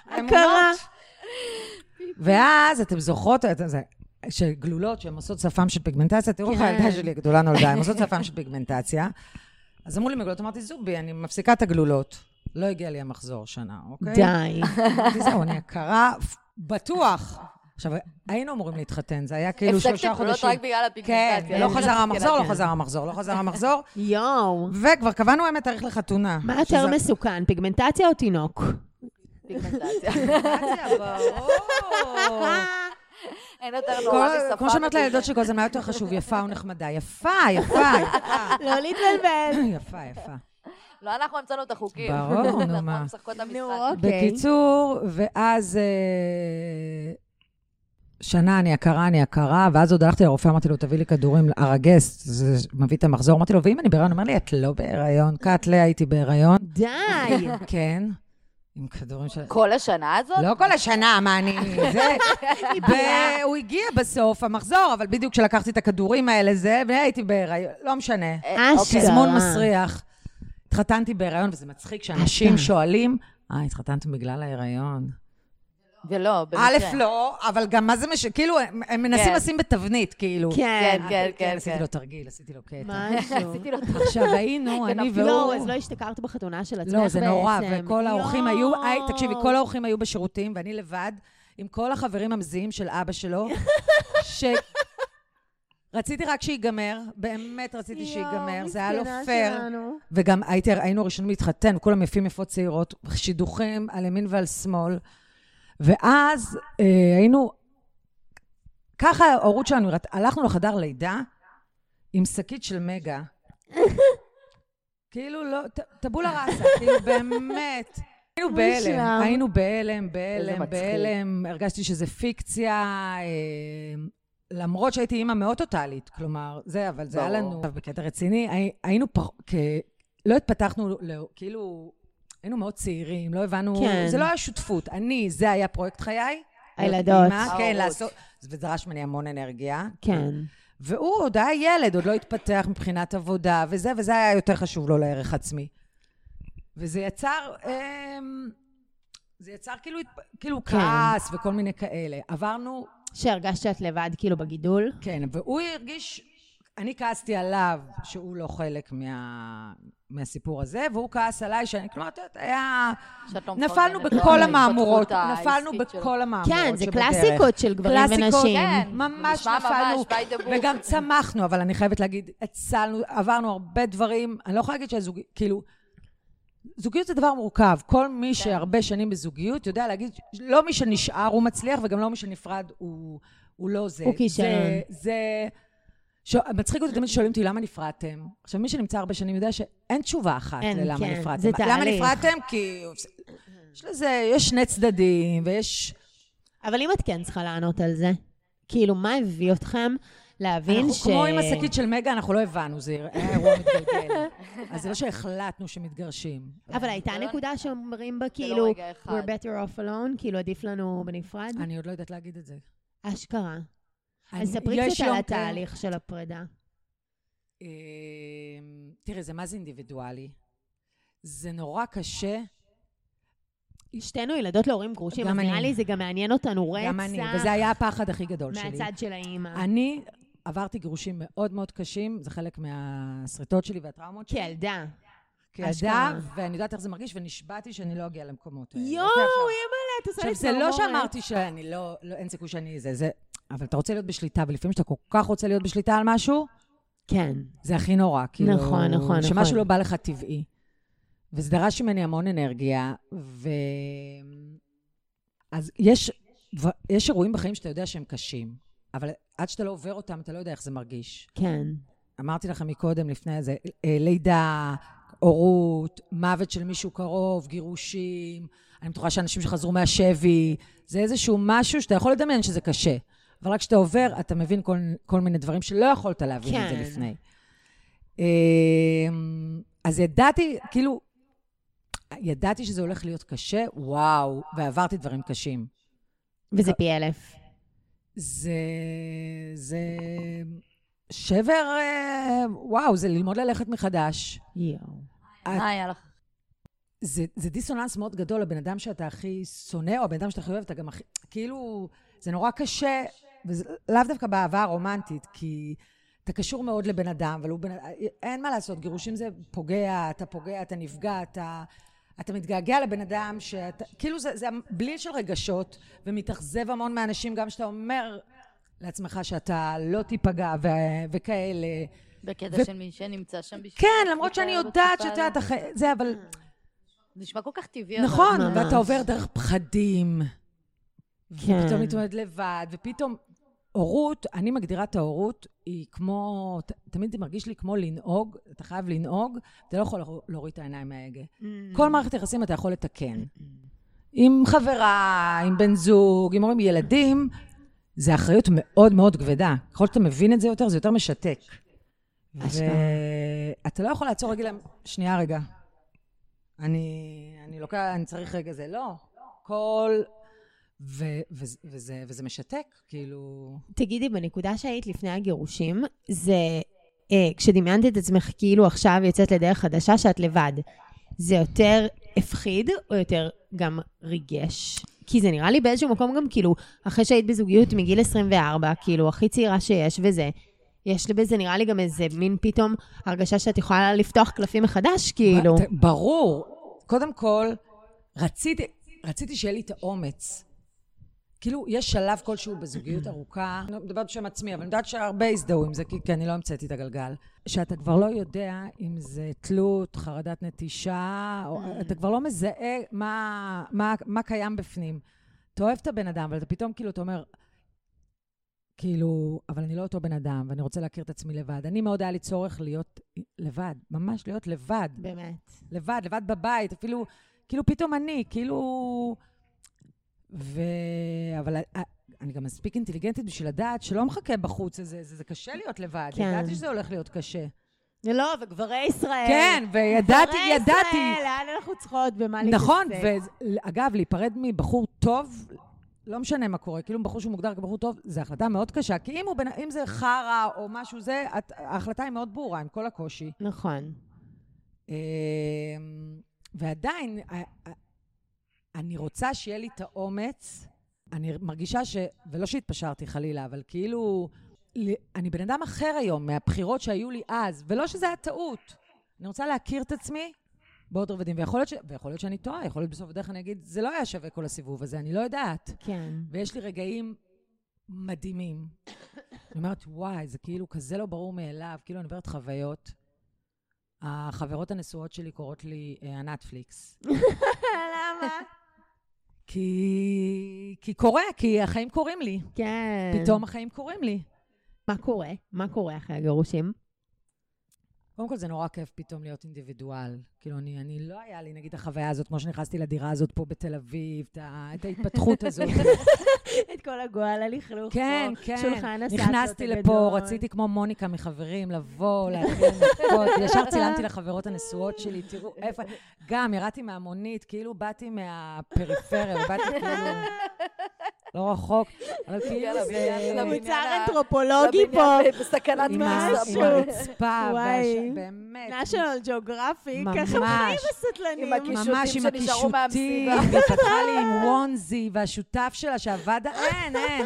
S4: קרה.
S5: אמונות. ואז, אתם זוכרות, את זה, שגלולות שהן עושות שפם של פיגמנטציה, תראו איך
S4: כן.
S5: הילדה שלי הגדולה נולדה, הן עושות שפם של פיגמנטציה. אז אמרו לי מגלולות, אמרתי, זובי, אני מפסיקה את הגלולות. לא הגיע לי המחזור שנה, אוקיי?
S4: די.
S5: אמרתי, זהו, אני הכרה, בטוח. עכשיו, היינו אמורים להתחתן, זה היה כאילו
S6: הפסקתי
S5: שלושה
S6: גדולות
S5: חודשים.
S6: רק בגלל
S5: כן,
S6: הפיגמנטציה.
S5: לא חזר המחזור, לא חזר המחזור, לא חזר המחזור,
S4: יואו.
S5: וכבר קבענו האמת תאריך לחתונה.
S4: מה יותר
S5: שזה-
S4: מסוכן, פיגמנטציה או תינוק?
S5: לא.
S6: פיגמנטציה.
S5: ברור.
S6: אין יותר
S5: כל-
S6: נורא לא משפה.
S5: כמו שאמרת לילדות של גוזן, מה יותר חשוב, יפה או נחמדה? יפה, יפה, יפה.
S4: לא להתבלבל.
S5: יפה, יפה.
S6: לא, אנחנו המצאנו את החוקים.
S5: ברור, נו,
S6: אנחנו
S5: מה.
S6: משחקות את המשחק.
S4: אוקיי.
S5: בקיצור, ואז אה, שנה אני הכרה, אני הכרה, ואז עוד הלכתי לרופא, אמרתי לו, תביא לי כדורים, ארגס, זה מביא את המחזור. אמרתי לו, ואם אני בהיריון? הוא אומר לי, את לא בהיריון, קאטלה, הייתי בהיריון.
S4: די.
S5: כן, עם כדורים של...
S6: כל השנה הזאת?
S5: לא כל השנה, מה אני... זה... ו- הוא הגיע בסוף, המחזור, אבל בדיוק כשלקחתי את הכדורים האלה, זה, והייתי בהיריון, לא משנה.
S6: אה, אוקיי.
S4: אשכרה.
S5: תזמון מסריח. התחתנתי בהיריון, וזה מצחיק שאנשים
S4: אתה.
S5: שואלים, אה, התחתנתם בגלל ההיריון.
S6: ולא,
S5: א',
S6: במקרה.
S5: לא, אבל גם מה זה מש... כאילו, הם- הם מנסים
S6: כן.
S5: לשים בתבנית, כאילו.
S4: כן.
S6: כן, כן, כן,
S5: עשיתי
S6: כן.
S5: לו תרגיל, עשיתי לו קטע.
S4: משהו.
S6: עשיתי לו-
S5: עכשיו היינו, אני והוא...
S4: לא, אז לא השתכרת בחתונה של עצמך בעצם.
S5: לא, זה נורא, וכל האורחים היו,
S4: יואו.
S5: היי, תקשיבי, כל האורחים היו בשירותים, ואני לבד, עם כל החברים המזיעים של אבא שלו, ש... רציתי רק שיגמר, באמת רציתי שיגמר,
S4: יואו,
S5: זה היה לא
S4: מסכנה
S5: פייר.
S4: שלנו.
S5: וגם הייתי, היינו הראשונים להתחתן, כולם יפים יפות צעירות, שידוכים על ימין ועל שמאל. ואז אה, היינו, ככה ההורות שלנו, נראית. הלכנו לחדר לידה עם שקית של מגה. כאילו לא, ט- טבולה ראסה, כאילו באמת. היינו בהלם,
S4: שלם.
S5: היינו בהלם,
S6: איזה
S5: בהלם,
S6: מצחיק.
S5: בהלם. הרגשתי שזה פיקציה, אה, למרות שהייתי אימא מאוד טוטאלית, כלומר, זה, אבל זה היה
S6: ברור.
S5: לנו... עכשיו, בקטע רציני, הי- היינו פח... כ... לא התפתחנו, ל- כאילו, היינו מאוד צעירים, לא הבנו...
S4: כן.
S5: זה לא היה שותפות. אני, זה היה פרויקט חיי. להיות
S4: הילדות.
S5: אימא, כן,
S6: ההורות.
S5: לעשות... וזה דרש ממני המון אנרגיה.
S4: כן.
S5: והוא עוד היה ילד, עוד לא התפתח מבחינת עבודה וזה, וזה היה יותר חשוב לו לערך עצמי. וזה יצר, אמ, זה יצר כאילו, התפ- כאילו
S4: כן.
S5: כעס וכל מיני כאלה. עברנו
S4: שהרגשת שאת לבד, כאילו, בגידול?
S5: כן, והוא הרגיש, אני כעסתי עליו שהוא לא חלק מה, מהסיפור הזה, והוא כעס עליי שאני, כלומר, את יודעת, היה...
S6: שאת לא
S5: נפלנו
S6: מפרגנת לו
S5: בכל
S6: על
S5: המהמורות,
S6: ההתפתחות
S5: נפלנו
S6: העסקית שלו.
S5: בכל המהמורות
S4: כן, זה
S5: שבדרך.
S4: קלאסיקות של גברים
S5: קלאסיקות,
S4: ונשים.
S6: כן,
S5: ממש
S6: נשמע
S5: נפלנו,
S6: ממש by the book.
S5: וגם צמחנו, אבל אני חייבת להגיד, הצלנו, עברנו הרבה דברים, אני לא יכולה להגיד שהזוגיות, כאילו, זוגיות זה דבר מורכב, כל
S4: כן.
S5: מי שהרבה שנים בזוגיות יודע להגיד, לא מי שנשאר הוא מצליח, וגם לא מי שנפרד הוא, הוא לא זה.
S4: הוא כישלון.
S5: זה, זה ש... מצחיק אותי תמיד שואלים אותי למה נפרדתם. עכשיו, מי שנמצא הרבה שנים יודע שאין תשובה אחת
S4: אין,
S5: ללמה
S4: כן,
S5: נפרדתם.
S4: זה
S5: למה
S4: תהליך.
S5: נפרדתם? כי יש לזה, יש שני צדדים, ויש...
S4: אבל אם את כן צריכה לענות על זה, כאילו, מה הביא אתכם להבין
S5: אנחנו
S4: ש...
S5: כמו עם השקית של מגה, אנחנו לא הבנו, זה היה אירוע מתגלגל. אז זה לא שהחלטנו שמתגרשים.
S4: אבל הייתה
S6: זה לא-
S4: נקודה שאומרים בה,
S6: זה לא
S4: כאילו,
S6: רגע אחד.
S4: we're better off alone, כאילו, עדיף לנו בנפרד?
S5: אני עוד לא יודעת להגיד את זה.
S4: אשכרה.
S5: אני-
S4: אז ספרי
S5: יש
S4: קצת
S5: יום
S4: על
S5: כן.
S4: התהליך של הפרידה.
S5: אמ, תראה, זה מה זה אינדיבידואלי. זה נורא קשה.
S4: שתינו ילדות להורים גרושים,
S5: גם
S4: אז נראה
S5: אני.
S4: לי זה גם מעניין אותנו
S5: גם אני,
S4: רצח
S5: וזה היה הפחד הכי גדול שלי.
S4: מהצד של האימא.
S5: אני עברתי גירושים מאוד מאוד קשים, זה חלק מהשריטות שלי והטראומות שלי.
S4: כילדה.
S5: כילדה,
S4: כן, אשכרה.
S5: ואני יודעת איך זה מרגיש, ונשבעתי שאני לא אגיע למקומות האלה.
S4: יואו,
S5: אוקיי, עכשיו-
S4: אימא'לה, את עושה לי
S5: עכשיו, זה לא שאמרתי שאני לא, לא, אין סיכוי שאני זה, זה... אבל אתה רוצה להיות בשליטה, ולפעמים כשאתה כל כך רוצה להיות בשליטה על משהו,
S4: כן.
S5: זה הכי נורא. כאילו,
S4: נכון, נכון,
S5: שמשהו
S4: נכון.
S5: לא בא לך טבעי. וזה דרש ממני המון אנרגיה, ו... אז יש, דבר- יש אירועים בחיים שאתה יודע שהם קשים, אבל עד שאתה לא עובר אותם, אתה לא יודע איך זה מרגיש.
S4: כן.
S5: אמרתי לכם מקודם, לפני זה, אה, לידה, הורות, מוות של מישהו קרוב, גירושים, אני בטוחה שאנשים שחזרו מהשבי, זה איזשהו משהו שאתה יכול לדמיין שזה קשה. אבל רק כשאתה עובר, אתה מבין כל, כל מיני דברים שלא יכולת להבין את
S4: כן.
S5: זה לפני. אה, אז ידעתי, כאילו, ידעתי שזה הולך להיות קשה, וואו, ועברתי דברים קשים.
S4: וזה פי אלף.
S5: זה... זה... שבר, אה, וואו, זה ללמוד ללכת מחדש.
S4: יואו.
S6: מה אה, היה לך?
S5: זה, זה דיסוננס מאוד גדול לבן אדם שאתה הכי שונא, או הבן אדם שאתה הכי אוהב, אתה גם הכי... כאילו, זה נורא קשה, וזה לאו דווקא באהבה הרומנטית, כי אתה קשור מאוד לבן אדם, אבל הוא בן... אין מה לעשות, גירושים זה פוגע, אתה פוגע, אתה נפגע, אתה... אתה מתגעגע לבן אדם שאתה... כאילו, זה, זה בליל של רגשות, ומתאכזב המון מהאנשים, גם שאתה אומר לעצמך שאתה לא תיפגע ו... וכאלה.
S6: בקטע של מי שנמצא שם בשביל...
S5: כן, למרות שאני יודעת שאתה... אתה חי- זה, אבל...
S6: נשמע כל כך טבעי. אבל-
S5: נכון,
S4: ממש.
S5: ואתה עובר דרך פחדים.
S4: כן.
S5: ופתאום להתמודד לבד, ופתאום... הורות, אני מגדירה את ההורות, היא כמו... ת- תמיד זה מרגיש לי כמו לנהוג, אתה חייב לנהוג, אתה לא יכול להוריד את העיניים מההגה.
S4: Mm.
S5: כל מערכת יחסים אתה יכול לתקן. עם חברה, עם בן זוג, עם הורים, ילדים, זה אחריות מאוד מאוד כבדה. ככל שאתה מבין את זה יותר, זה יותר משתק.
S4: אשכרה.
S5: ואתה לא יכול לעצור רגע, להם, שנייה רגע. אני, אני לוקח, אני צריך רגע זה, לא. כל... ו, ו, וזה, וזה משתק, כאילו...
S4: תגידי, בנקודה שהיית לפני הגירושים, זה אה, כשדמיינת את עצמך כאילו עכשיו יוצאת לדרך חדשה שאת לבד, זה יותר הפחיד או יותר גם ריגש? כי זה נראה לי באיזשהו מקום גם כאילו, אחרי שהיית בזוגיות מגיל 24, כאילו, הכי צעירה שיש וזה, יש בזה נראה לי גם איזה מין פתאום הרגשה שאת יכולה לפתוח קלפים מחדש, כאילו.
S5: ת- ברור. קודם כל, רציתי, רציתי שיהיה לי את האומץ. כאילו, יש שלב כלשהו בזוגיות ארוכה, אני לא מדברת בשם עצמי, אבל אני יודעת שהרבה הזדהו עם זה, כי, כי אני לא המצאתי את הגלגל. שאתה כבר לא יודע אם זה תלות, חרדת נטישה, או, אתה כבר לא מזהה מה, מה, מה קיים בפנים. אתה אוהב את הבן אדם, אבל אתה פתאום כאילו, אתה אומר, כאילו, אבל אני לא אותו בן אדם, ואני רוצה להכיר את עצמי לבד. אני מאוד היה לי צורך להיות לבד, ממש להיות לבד.
S4: באמת.
S5: לבד, לבד בבית, אפילו, כאילו פתאום אני, כאילו... ו... אבל ה- אני גם מספיק אינטליגנטית בשביל לדעת שלא מחכה בחוץ, זה, זה, זה קשה להיות לבד.
S4: כן.
S5: כן. ידעתי שזה הולך להיות קשה.
S4: לא, וגברי ישראל.
S5: כן, וידעתי,
S4: גברי
S5: ידעתי.
S4: ישראל, לאן אנחנו צריכות, במה להתעסק.
S5: נכון, ואגב, להיפרד מבחור טוב, לא משנה מה קורה, כאילו בחור שהוא מוגדר כבחור טוב, זו החלטה מאוד קשה, כי אם, הוא, בנ- אם זה חרא או משהו זה, את, ההחלטה היא מאוד ברורה, עם כל הקושי.
S4: נכון.
S5: אמ, ועדיין, ה- ה- אני רוצה שיהיה לי את האומץ, אני מרגישה ש... ולא שהתפשרתי חלילה, אבל כאילו, ל- אני בן אדם אחר היום מהבחירות שהיו לי אז, ולא שזה היה טעות. אני רוצה להכיר את עצמי בעוד רבדים, ויכול להיות, ש... ויכול להיות שאני טועה, יכול להיות בסוף הדרך אני אגיד, זה לא היה שווה כל הסיבוב הזה, אני לא יודעת.
S4: כן.
S5: ויש לי רגעים מדהימים. אני אומרת, וואי, זה כאילו כזה לא ברור מאליו, כאילו אני עוברת חוויות. החברות הנשואות שלי קוראות לי אה, הנטפליקס.
S4: למה?
S5: כי... כי קורה, כי החיים קורים לי.
S4: כן.
S5: פתאום החיים קורים לי.
S4: מה קורה? מה קורה אחרי הגירושים?
S5: קודם כל, זה נורא כיף פתאום להיות אינדיבידואל. כאילו, אני, אני לא היה לי, נגיד, החוויה הזאת, כמו שנכנסתי לדירה הזאת פה בתל אביב, את, ה, את ההתפתחות הזאת.
S4: את כל הגועל הלכלוך.
S5: כן,
S4: פה,
S5: כן.
S4: שולחן הסאטות
S5: נכנסתי
S4: הגדול.
S5: לפה, רציתי כמו מוניקה מחברים, לבוא, להתחיל לנקות. ישר צילמתי לחברות הנשואות שלי, תראו איפה... גם, ירדתי מהמונית, כאילו באתי מהפריפריה, באתי כאילו... לא רחוק, אבל כאילו
S6: יאללה,
S5: זה...
S4: כן.
S6: יאללה,
S3: מוצר
S6: לבניין ה-
S3: אנתרופולוגי
S1: לא
S3: פה.
S6: לבניין לא, בסכנת
S5: עם ה- עם
S6: משהו.
S5: הרצפה,
S3: וואי.
S5: והש- באמת.
S3: national geographic,
S5: ממש.
S3: איך הם חיים
S6: עם
S3: הסטלנים.
S6: הקישוטים
S5: ממש עם
S6: שנשארו
S5: הקישוטים,
S6: מהמסיבה.
S5: והיא פתחה לי עם וונזי, והשותף שלה שעבד, אין, אין.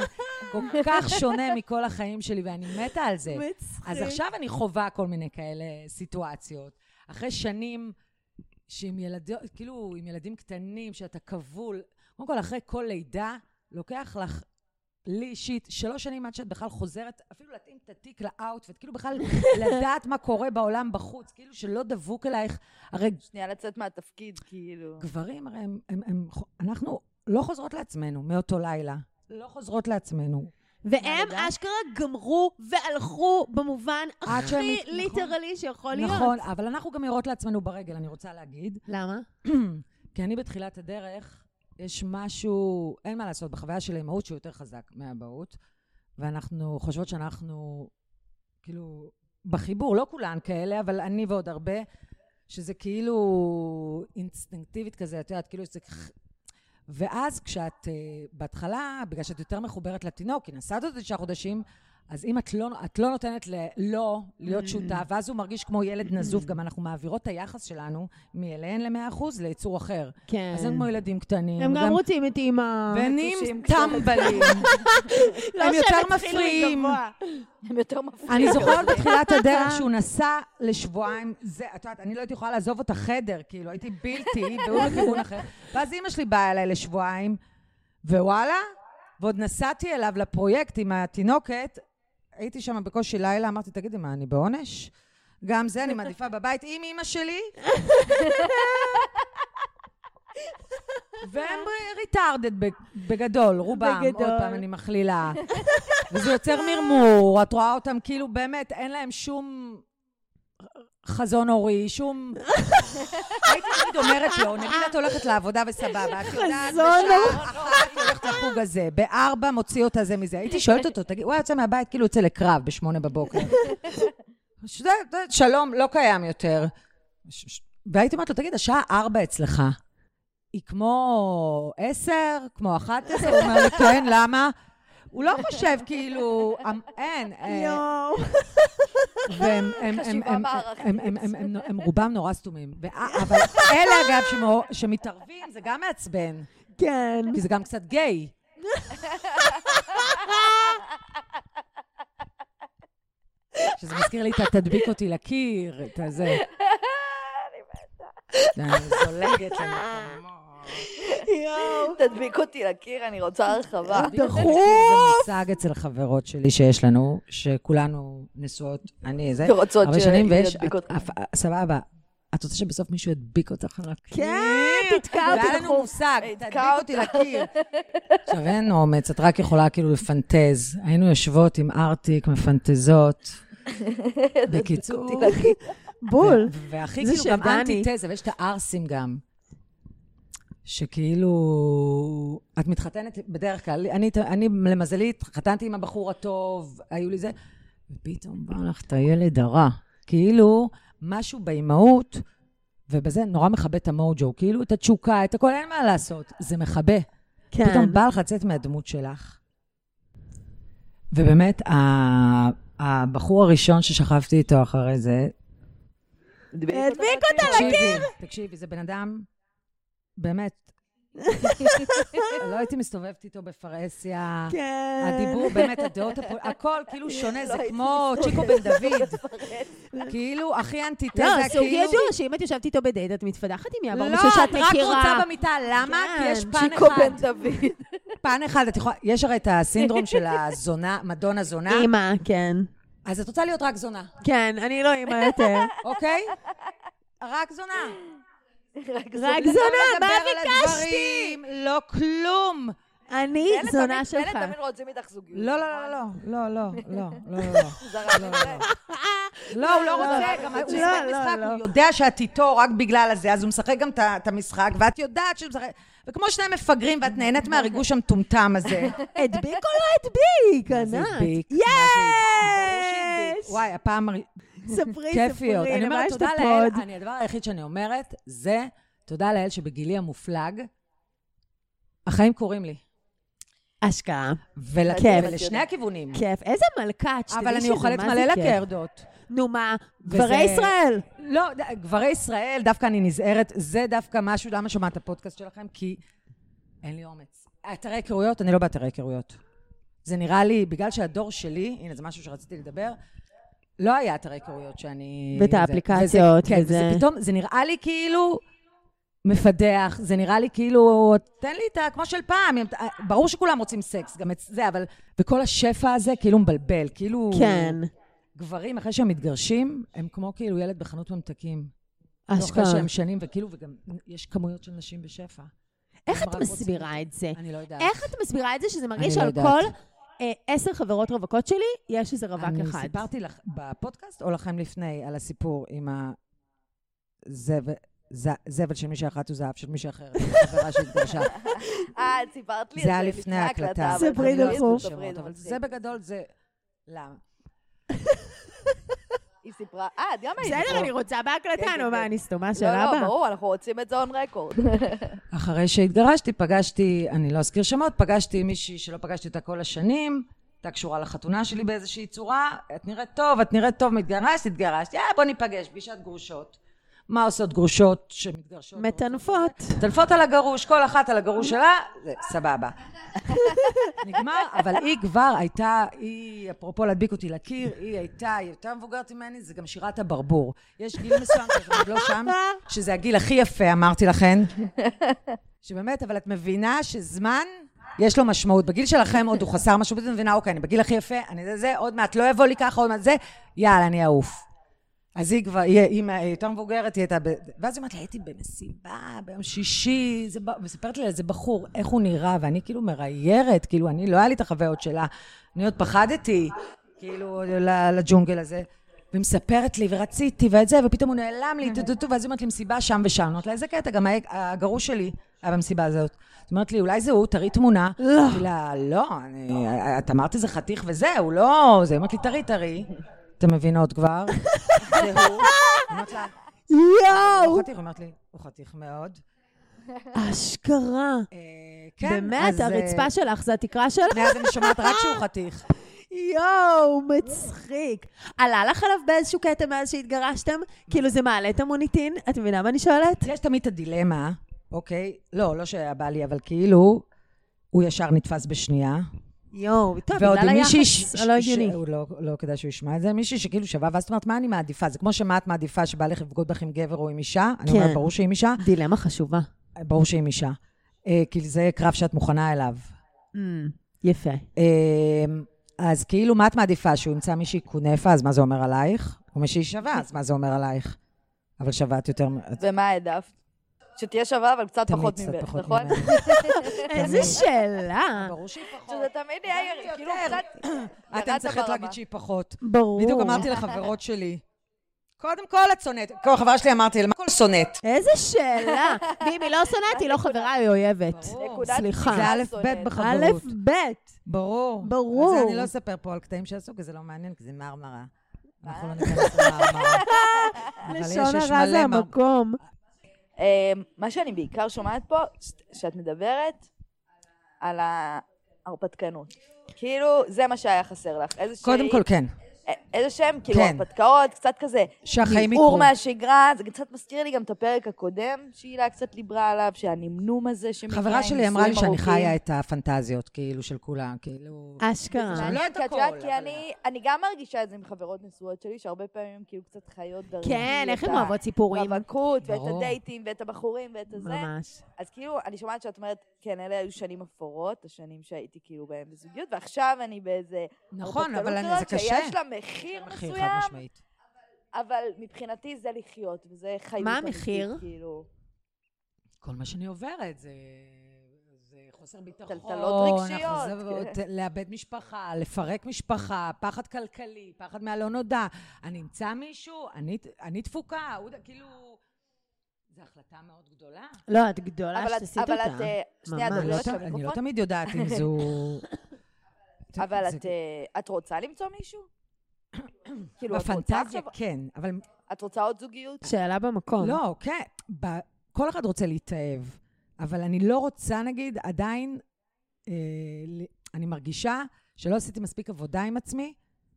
S5: כל כך שונה מכל החיים שלי, ואני מתה על זה.
S3: מצחיק.
S4: אוקיי.
S5: אז עכשיו אני חווה כל מיני כאלה סיטואציות. אחרי שנים שעם ילדים, כאילו, עם ילדים קטנים, שאתה כבול, קודם כל, אחרי כל לידה, לוקח לך, לי אישית, שלוש שנים עד שאת בכלל חוזרת, אפילו להתאים את התיק לאאוטפט, כאילו בכלל לדעת מה קורה בעולם בחוץ, כאילו שלא דבוק אלייך. הרי
S6: שנייה לצאת מהתפקיד, כאילו.
S5: גברים, הרי הם, הם, הם, אנחנו לא חוזרות לעצמנו מאותו לילה. לא חוזרות לעצמנו.
S3: והם אשכרה גמרו והלכו במובן
S5: עד שהם
S3: הכי
S5: מת- נכון.
S3: ליטרלי שיכול להיות.
S5: נכון, אבל אנחנו גם יורות לעצמנו ברגל, אני רוצה להגיד.
S4: למה?
S5: כי אני בתחילת הדרך, יש משהו, אין מה לעשות, בחוויה של האימהות שהוא יותר חזק מהאבהות, ואנחנו חושבות שאנחנו, כאילו, בחיבור, לא כולן כאלה, אבל אני ועוד הרבה, שזה כאילו אינסטינקטיבית כזה, את יודעת, כאילו זה... כ- ואז כשאת אה, בהתחלה, בגלל שאת יותר מחוברת לתינוק, כי נסעת אותו תשעה חודשים, אז אם את לא, את לא נותנת ללא להיות
S3: Mm.
S5: שותף, ואז הוא מרגיש כמו ילד נזוף, גם אנחנו מעבירות את היחס שלנו מאליהן ל-100% ליצור אחר.
S4: כן.
S5: אז הם כמו ילדים קטנים.
S3: הם גם רוצים את אימא.
S5: בנים
S6: נטושים קצת.
S5: טמבלים.
S3: לא שהם
S5: הם יותר
S3: התחילו
S5: מפריעים.
S3: מגבוה.
S6: הם יותר מפחידים.
S5: אני זוכרת בתחילת הדרך שהוא נסע לשבועיים, זה, את יודעת, אני לא הייתי יכולה לעזוב את החדר, כאילו, הייתי בלתי, והוא בכיוון אחר. ואז אימא שלי באה אליי לשבועיים, ווואלה, ועוד נסעתי אליו לפרויקט עם התינוקת, הייתי שם בקושי לילה, אמרתי, תגידי, מה, אני בעונש? גם זה אני מעדיפה בבית עם אימא שלי. והם ריטרדד בגדול, רובם, עוד
S3: בגדול.
S5: פעם אני מכלילה. וזה יוצר מרמור, את רואה אותם כאילו באמת, אין להם שום חזון הורי, שום... הייתי תמיד אומרת לו, נגיד את הולכת לעבודה וסבבה, את יודעת, בשעה אחת היא הולכת לחוג הזה, בארבע מוציא אותה זה מזה. הייתי שואלת אותו, תגיד, הוא היה יוצא מהבית כאילו יוצא לקרב בשמונה בבוקר. שזה- זה- שלום, לא קיים יותר. ש- ש- והייתי אומרת לו, תגיד, השעה ארבע אצלך, היא כמו עשר, כמו אחת עשר? הוא אומר לי, כן, למה? הוא לא חושב כאילו, אמ- אין, אה,
S3: יואו.
S5: והם הם- הם-
S6: חשיבה
S5: הם-
S6: מערכתית.
S5: הם- הם- הם- הם- הם רובם נורא סתומים. וה- אבל אלה, אגב, שמו- שמתערבים, זה גם מעצבן,
S3: כן.
S5: כי זה גם קצת גיי. שזה מזכיר לי את התדביק אותי לקיר, את הזה. אני זולגת למקומות.
S3: יואו.
S6: תדביק אותי לקיר, אני רוצה
S1: אה,
S6: הרחבה.
S5: דחוף! זה מושג אצל חברות שלי שיש לנו, שכולנו נשואות, אני זה,
S6: שרוצות
S5: הרבה
S6: ש-
S5: שנים, ויש,
S6: ידביק
S5: את-
S6: אותך.
S5: אף- סבבה, את רוצה שבסוף מישהו ידביק אותך רק?
S3: כן, תתקע
S5: היה
S3: אותי
S5: לנו
S3: דחוף.
S5: מושג,
S6: יתקע
S5: תדביק אותי לקיר. עכשיו אין אומץ, את רק יכולה כאילו לפנטז. היינו יושבות עם ארטיק, מפנטזות. בקיצור,
S3: בול.
S5: והכי
S3: זה
S5: כאילו גם
S3: של דני.
S5: אנטיתזה, ויש את הערסים גם. שכאילו, את מתחתנת בדרך כלל, אני, אני למזלי התחתנתי עם הבחור הטוב, היו לי זה, ופתאום בא לך את הילד הרע. כאילו, משהו באימהות, ובזה נורא מכבה את המוג'ו, כאילו את התשוקה, את הכל, אין מה לעשות, זה מכבה.
S3: כן.
S5: פתאום בא לך לצאת מהדמות שלך. ובאמת, ה- הבחור הראשון ששכבתי איתו אחרי זה,
S3: הדביק אותה.
S5: תקשיבי, תקשיבי, זה בן אדם, באמת, לא הייתי מסתובבת איתו בפרהסיה.
S3: כן.
S5: הדיבור, באמת, הדעות, הפול- הכל כאילו שונה, זה כמו צ'יקו בן דוד. כאילו, הכי אנטיתזה,
S4: לא,
S5: כאילו...
S4: סוג ידוע שאם את יושבת איתו בדייט, את מתפדחת עם יעבור
S5: לא,
S4: מישהו שאת
S5: את רק רוצה
S4: מכירה.
S5: במיטה, למה? כי
S4: כן,
S5: יש פן
S3: צ'יקו
S5: אחד.
S3: בן דוד.
S5: פן אחד, את יכולה... יש הרי את הסינדרום של הזונה, מדון הזונה,
S4: אימא, כן.
S5: אז את רוצה להיות רק זונה,
S3: כן, אני לא אימא יותר.
S5: אוקיי? רק זונה. לא
S4: רק זונה, מה
S5: ביקשתי? לא כלום.
S3: אני
S4: ביקשתי? זונה שלך.
S6: אלה תמיד רוצים איתך זוגיות.
S5: לא, לא, לא, לא, לא, לא, לא, לא, לא.
S6: זרה, זרה.
S5: לא, הוא לא רוצה, גם הוא
S3: לא,
S5: משחק
S3: לא,
S5: משחק,
S3: לא.
S5: הוא יודע שאת איתו רק בגלל הזה, אז הוא משחק גם את ה- את המשחק, ואת יודעת שהוא משחק... וכמו שני מפגרים, ואת נהנית מהריגוש המטומטם הזה.
S3: הדביק או לא הדביק? ענת.
S5: זה הדביק, מה זה הדביק?
S3: יש!
S5: וואי, הפעם הר-
S3: ספרי, ספרי,
S5: כיפיות. אני
S3: למה
S5: אומרת,
S3: יש את
S5: תודה לאל,
S3: הפוד?
S5: אני, הדבר היחיד שאני אומרת זה, תודה לאל שבגילי המופלג, החיים קורים לי.
S4: אשכרה.
S5: ול-
S3: כיף.
S5: ולשני הכיוונים.
S4: כיף. איזה מלכה, את שתדעי
S5: אבל אני
S4: שזה,
S5: אוכלת
S4: מה זה
S5: מלא
S4: כיף.
S5: לקרדות.
S4: נו מה,
S5: וזה-
S4: ברי ישראל.
S5: לא, ד- גברי ישראל, דווקא אני נזהרת, זה דווקא משהו, למה שומעת את הפודקאסט שלכם? כי אין לי אומץ. אתרי היכרויות, אני לא באתרי היכרויות. זה נראה לי, בגלל שהדור שלי, הנה, זה משהו שרציתי לדבר, לא היה אתרי היכרויות שאני...
S4: ואת
S5: זה-
S4: האפליקציות,
S5: וזה... כן,
S4: וזה-
S5: וזה פתאום, זה נראה לי כאילו מפדח, זה נראה לי כאילו, תן לי את ה... כמו של פעם, אם אתה- ברור שכולם רוצים סקס, גם את זה, אבל... וכל השפע הזה כאילו מבלבל, כאילו...
S4: כן.
S5: גברים, אחרי שהם מתגרשים, הם כמו כאילו ילד בחנות ממתקים. אשכרה.
S4: אשכרה.
S5: אחרי שהם שנים, וכאילו, וגם יש כמויות של נשים בשפע.
S4: איך
S5: הם
S4: את
S5: רק רוצים-
S4: מסבירה את זה?
S5: אני לא יודעת.
S4: איך את מסבירה את זה שזה
S5: אני
S4: מרגיש
S5: לא
S4: שעל
S5: יודעת.
S4: כל אה, עשר חברות רווקות שלי, יש איזה רווק
S5: אני
S4: אחד?
S5: סיפרתי לך בפודקאסט, או לכם לפני, על הסיפור עם הזבל, ז- זבל של מישהי אחת וזהב של מישהי אחרת, חברה שהתגרשה.
S6: אה, את סיפרת לי את
S5: זה היה לפני ההקלטה.
S6: אבל
S3: ספרי
S6: אני לא
S3: דחוף.
S6: אזכיר, ספרי,
S5: אבל
S6: זה
S5: זה בגדול, זה... למה?
S6: היא סיפרה, אה, את גם היית.
S4: בסדר, אני רוצה בהקלטה,
S5: אה,
S6: כן,
S4: נו
S6: כן,
S4: מה,
S6: כן.
S4: אני סתומה של
S6: לא, לא,
S4: אבא?
S6: ברור, אנחנו רוצים את זה און רקורד.
S5: אחרי שהתגרשתי, פגשתי, אני לא אזכיר שמות, פגשתי מישהי שלא פגשתי אותה כל השנים, הייתה קשורה לחתונה שלי באיזושהי צורה, את נראית טוב, את נראית טוב, מתגרשת, התגרשת, יאללה, בוא ניפגש, פגישת גרושות. מה עושות גרושות שמתגרשות?
S3: מטנפות.
S5: טלפות על הגרוש, כל אחת על הגרוש שלה, זה סבבה. נגמר, אבל היא כבר הייתה, היא, אפרופו להדביק אותי לקיר, היא הייתה, היא יותר מבוגרת ממני, זה גם שירת הברבור. יש גיל מסוים, שאנחנו עוד לא שם, שזה הגיל הכי יפה, אמרתי לכן. שבאמת, אבל את מבינה שזמן, יש לו משמעות. בגיל שלכם עוד הוא חסר משמעות, את מבינה, אוקיי, אני בגיל הכי יפה, אני זה זה, עוד מעט לא יבוא לי ככה, עוד מעט זה, יאללה, אני אעוף. אז היא כבר, היא, היא, מה- היא יותר מבוגרת, היא הייתה ב... ואז היא אומרת לה, הייתי במסיבה, ביום שישי, זה, ב- מספרת לי על איזה בחור, איך הוא נראה, ואני כאילו מריירת, כאילו, אני, לא היה לי את החוויות שלה, אני עוד פחדתי, כאילו, ל- לג'ונגל הזה. והיא מספרת לי, ורציתי, ואת זה, ופתאום הוא נעלם לי, טו-טו-טו, ואז היא אומרת לי, מסיבה שם ושם. אני אומרת לה, איזה קטע, גם ה- הגרוש שלי היה במסיבה הזאת. זאת אומרת לי, אולי זה הוא, תראי תמונה. לא. אמרתי לה, לא, אני, את אמרת איזה חתיך וזה, הוא לא... זה, היא אומרת לי, תראי, תראי. אתם מבינות כבר? זה הוא. אמרת לה,
S3: יואו!
S5: הוא חתיך, אומרת לי, הוא חתיך מאוד.
S3: אשכרה.
S5: אה, כן,
S4: באמת,
S5: אז, אה,
S4: הרצפה שלך זה התקרה שלך?
S5: מאז אני שומעת רק שהוא חתיך.
S3: יואו, מצחיק.
S4: מצחיק. עלה לך עליו באיזשהו קטע מאז שהתגרשתם? כאילו זה מעלה את המוניטין? את מבינה מה אני שואלת?
S5: יש תמיד את הדילמה, אוקיי? לא, לא שהיה בא לי, אבל כאילו, הוא ישר נתפס בשנייה.
S4: יואו, טוב,
S5: ועוד
S4: בגלל
S5: עם מישהי...
S4: היחס הלא הגיוני.
S5: שהוא אה, לא- לא כדאי שהוא ישמע את זה, מישהי שכאילו שווה, ואז את אומרת, מה אני מעדיפה? זה כמו שמה את מעדיפה, שבא לך לבגוד בך עם גבר או עם אישה? אני אומרת,
S4: כן.
S5: ברור שעם אישה,
S4: דילמה חשובה.
S5: ברור שעם אישה. אה, כי זה קרב שאת מוכנה אליו. Mm.
S4: יפה.
S5: אמ, אז כאילו, מה את מעדיפה? שהוא ימצא מישהי כונפה, אז מה זה אומר עלייך? או מישהי שווה, אז מה זה אומר עלייך? אבל שווה את יותר... מ- את
S6: ומה העדפת? שתהיה שווה, אבל קצת
S5: תמיד
S6: פחות
S5: קצת
S6: ממך,
S5: פחות
S6: נכון?
S5: ממני. כן,
S4: איזה
S5: אה,
S4: שאלה.
S5: ברור שהיא פחות.
S6: שזה תמיד יהיה ירי, כאילו קצת...
S5: אתן
S6: ירדת
S5: צריכות
S6: ברמה.
S5: להגיד שהיא פחות.
S4: ברור.
S5: בדיוק אמרתי לחברות שלי. קודם כל את שונאת. כל החברה שלי אמרתי לה, מה כל שונאת?
S4: איזה שאלה. ואם היא לא שונאת, היא לא חברה, היא אויבת.
S6: נקודת
S4: סליחה.
S5: זה
S6: פתיחה
S5: א'
S6: שונאת.
S5: ב'
S4: אה. א',
S5: בחברות.
S4: ב'.
S5: ברור.
S4: ברור.
S5: אז אני לא אספר פה על קטעים שעשו, כי זה לא מעניין, כי זה מרמרה. אנחנו לא ניכנס למרמרה. אבל יש-
S3: לשון
S5: יש
S3: הרע
S5: מלא
S3: זה
S5: מר-
S3: המקום.
S1: אמ,
S6: אה, מה שאני בעיקר שומעת פה, ש- שאת מדברת
S1: על ההרפתקנות. כאילו, זה מה שהיה חסר לך. איזה
S5: קודם כל, כן.
S1: איזה שהם, כאילו,
S5: כן.
S1: הרפתקאות, קצת כזה,
S5: שהחיים
S1: ניעור
S5: יקרו.
S1: מהשגרה, זה קצת מזכיר לי גם את הפרק הקודם, שהילה קצת דיברה עליו, שהנמנום הזה שמגיע
S5: חברה שלי
S1: עם
S5: אמרה לי
S1: נישואים
S5: שאני
S1: ארוכים. אה,
S5: חיה את הפנטזיות, כאילו, של כולם, כאילו...
S4: אשכרה.
S5: לא את
S1: כי את
S5: הכל,
S1: יודעת, כי
S5: אבל-
S1: אני- אני גם מרגישה את זה עם חברות נשואות שלי, שהרבה פעמים הן כאילו קצת חיות דרכי.
S4: כן, איך הן
S1: את ה-
S4: אוהבות סיפורים.
S1: רווקות, ואת
S5: ברור.
S1: הדייטים, ואת הבחורים, ואת הזה.
S4: ממש.
S1: אז כאילו, אני שומעת שאת אומרת, כן, אלה היו שנים אפורות, השנים שהייתי כאילו בהן בזוגיות, ועכשיו אני באיזה...
S5: נכון,
S1: הרפתקנות
S5: אבל אני- זה
S1: כזאת
S5: קשה.
S1: שיש לא, לה מחיר
S5: מחיר חד
S1: מסוים,
S5: משמעית.
S1: אבל מבחינתי זה לחיות, וזה חיים.
S4: מה המחיר?
S1: כאילו,
S5: כל מה שאני עוברת זה... זה חוסר ביטחון,
S1: טלטלות רגשיות,
S5: החוזר-
S1: כן.
S5: ת- לאבד משפחה, לפרק משפחה, פחד כלכלי, פחד מהלא נודע. אני אמצא מישהו, אני- אני תפוקה, הוא ד- כאילו... זו החלטה מאוד גדולה.
S4: לא, את גדולה
S1: אבל את-
S4: שתסיט אותה.
S1: אבל את... אה, שנייה,
S4: ממש.
S1: דברי
S5: אני לא
S1: עוד
S5: ת- אני לא
S1: שהמיקרופון.
S5: תמיד יודעת אם זו...
S1: אבל
S5: זה-
S1: את, אה, את רוצה למצוא מישהו? כאילו, את רוצה
S5: בפנטזיה
S1: עכשיו...
S5: כן, אבל
S1: את רוצה עוד זוגיות?
S4: שאלה במקום.
S5: לא, כן, ב... כל אחד רוצה להתאהב, אבל אני לא רוצה, נגיד, עדיין, אה, ל- אני מרגישה שלא עשיתי מספיק עבודה עם עצמי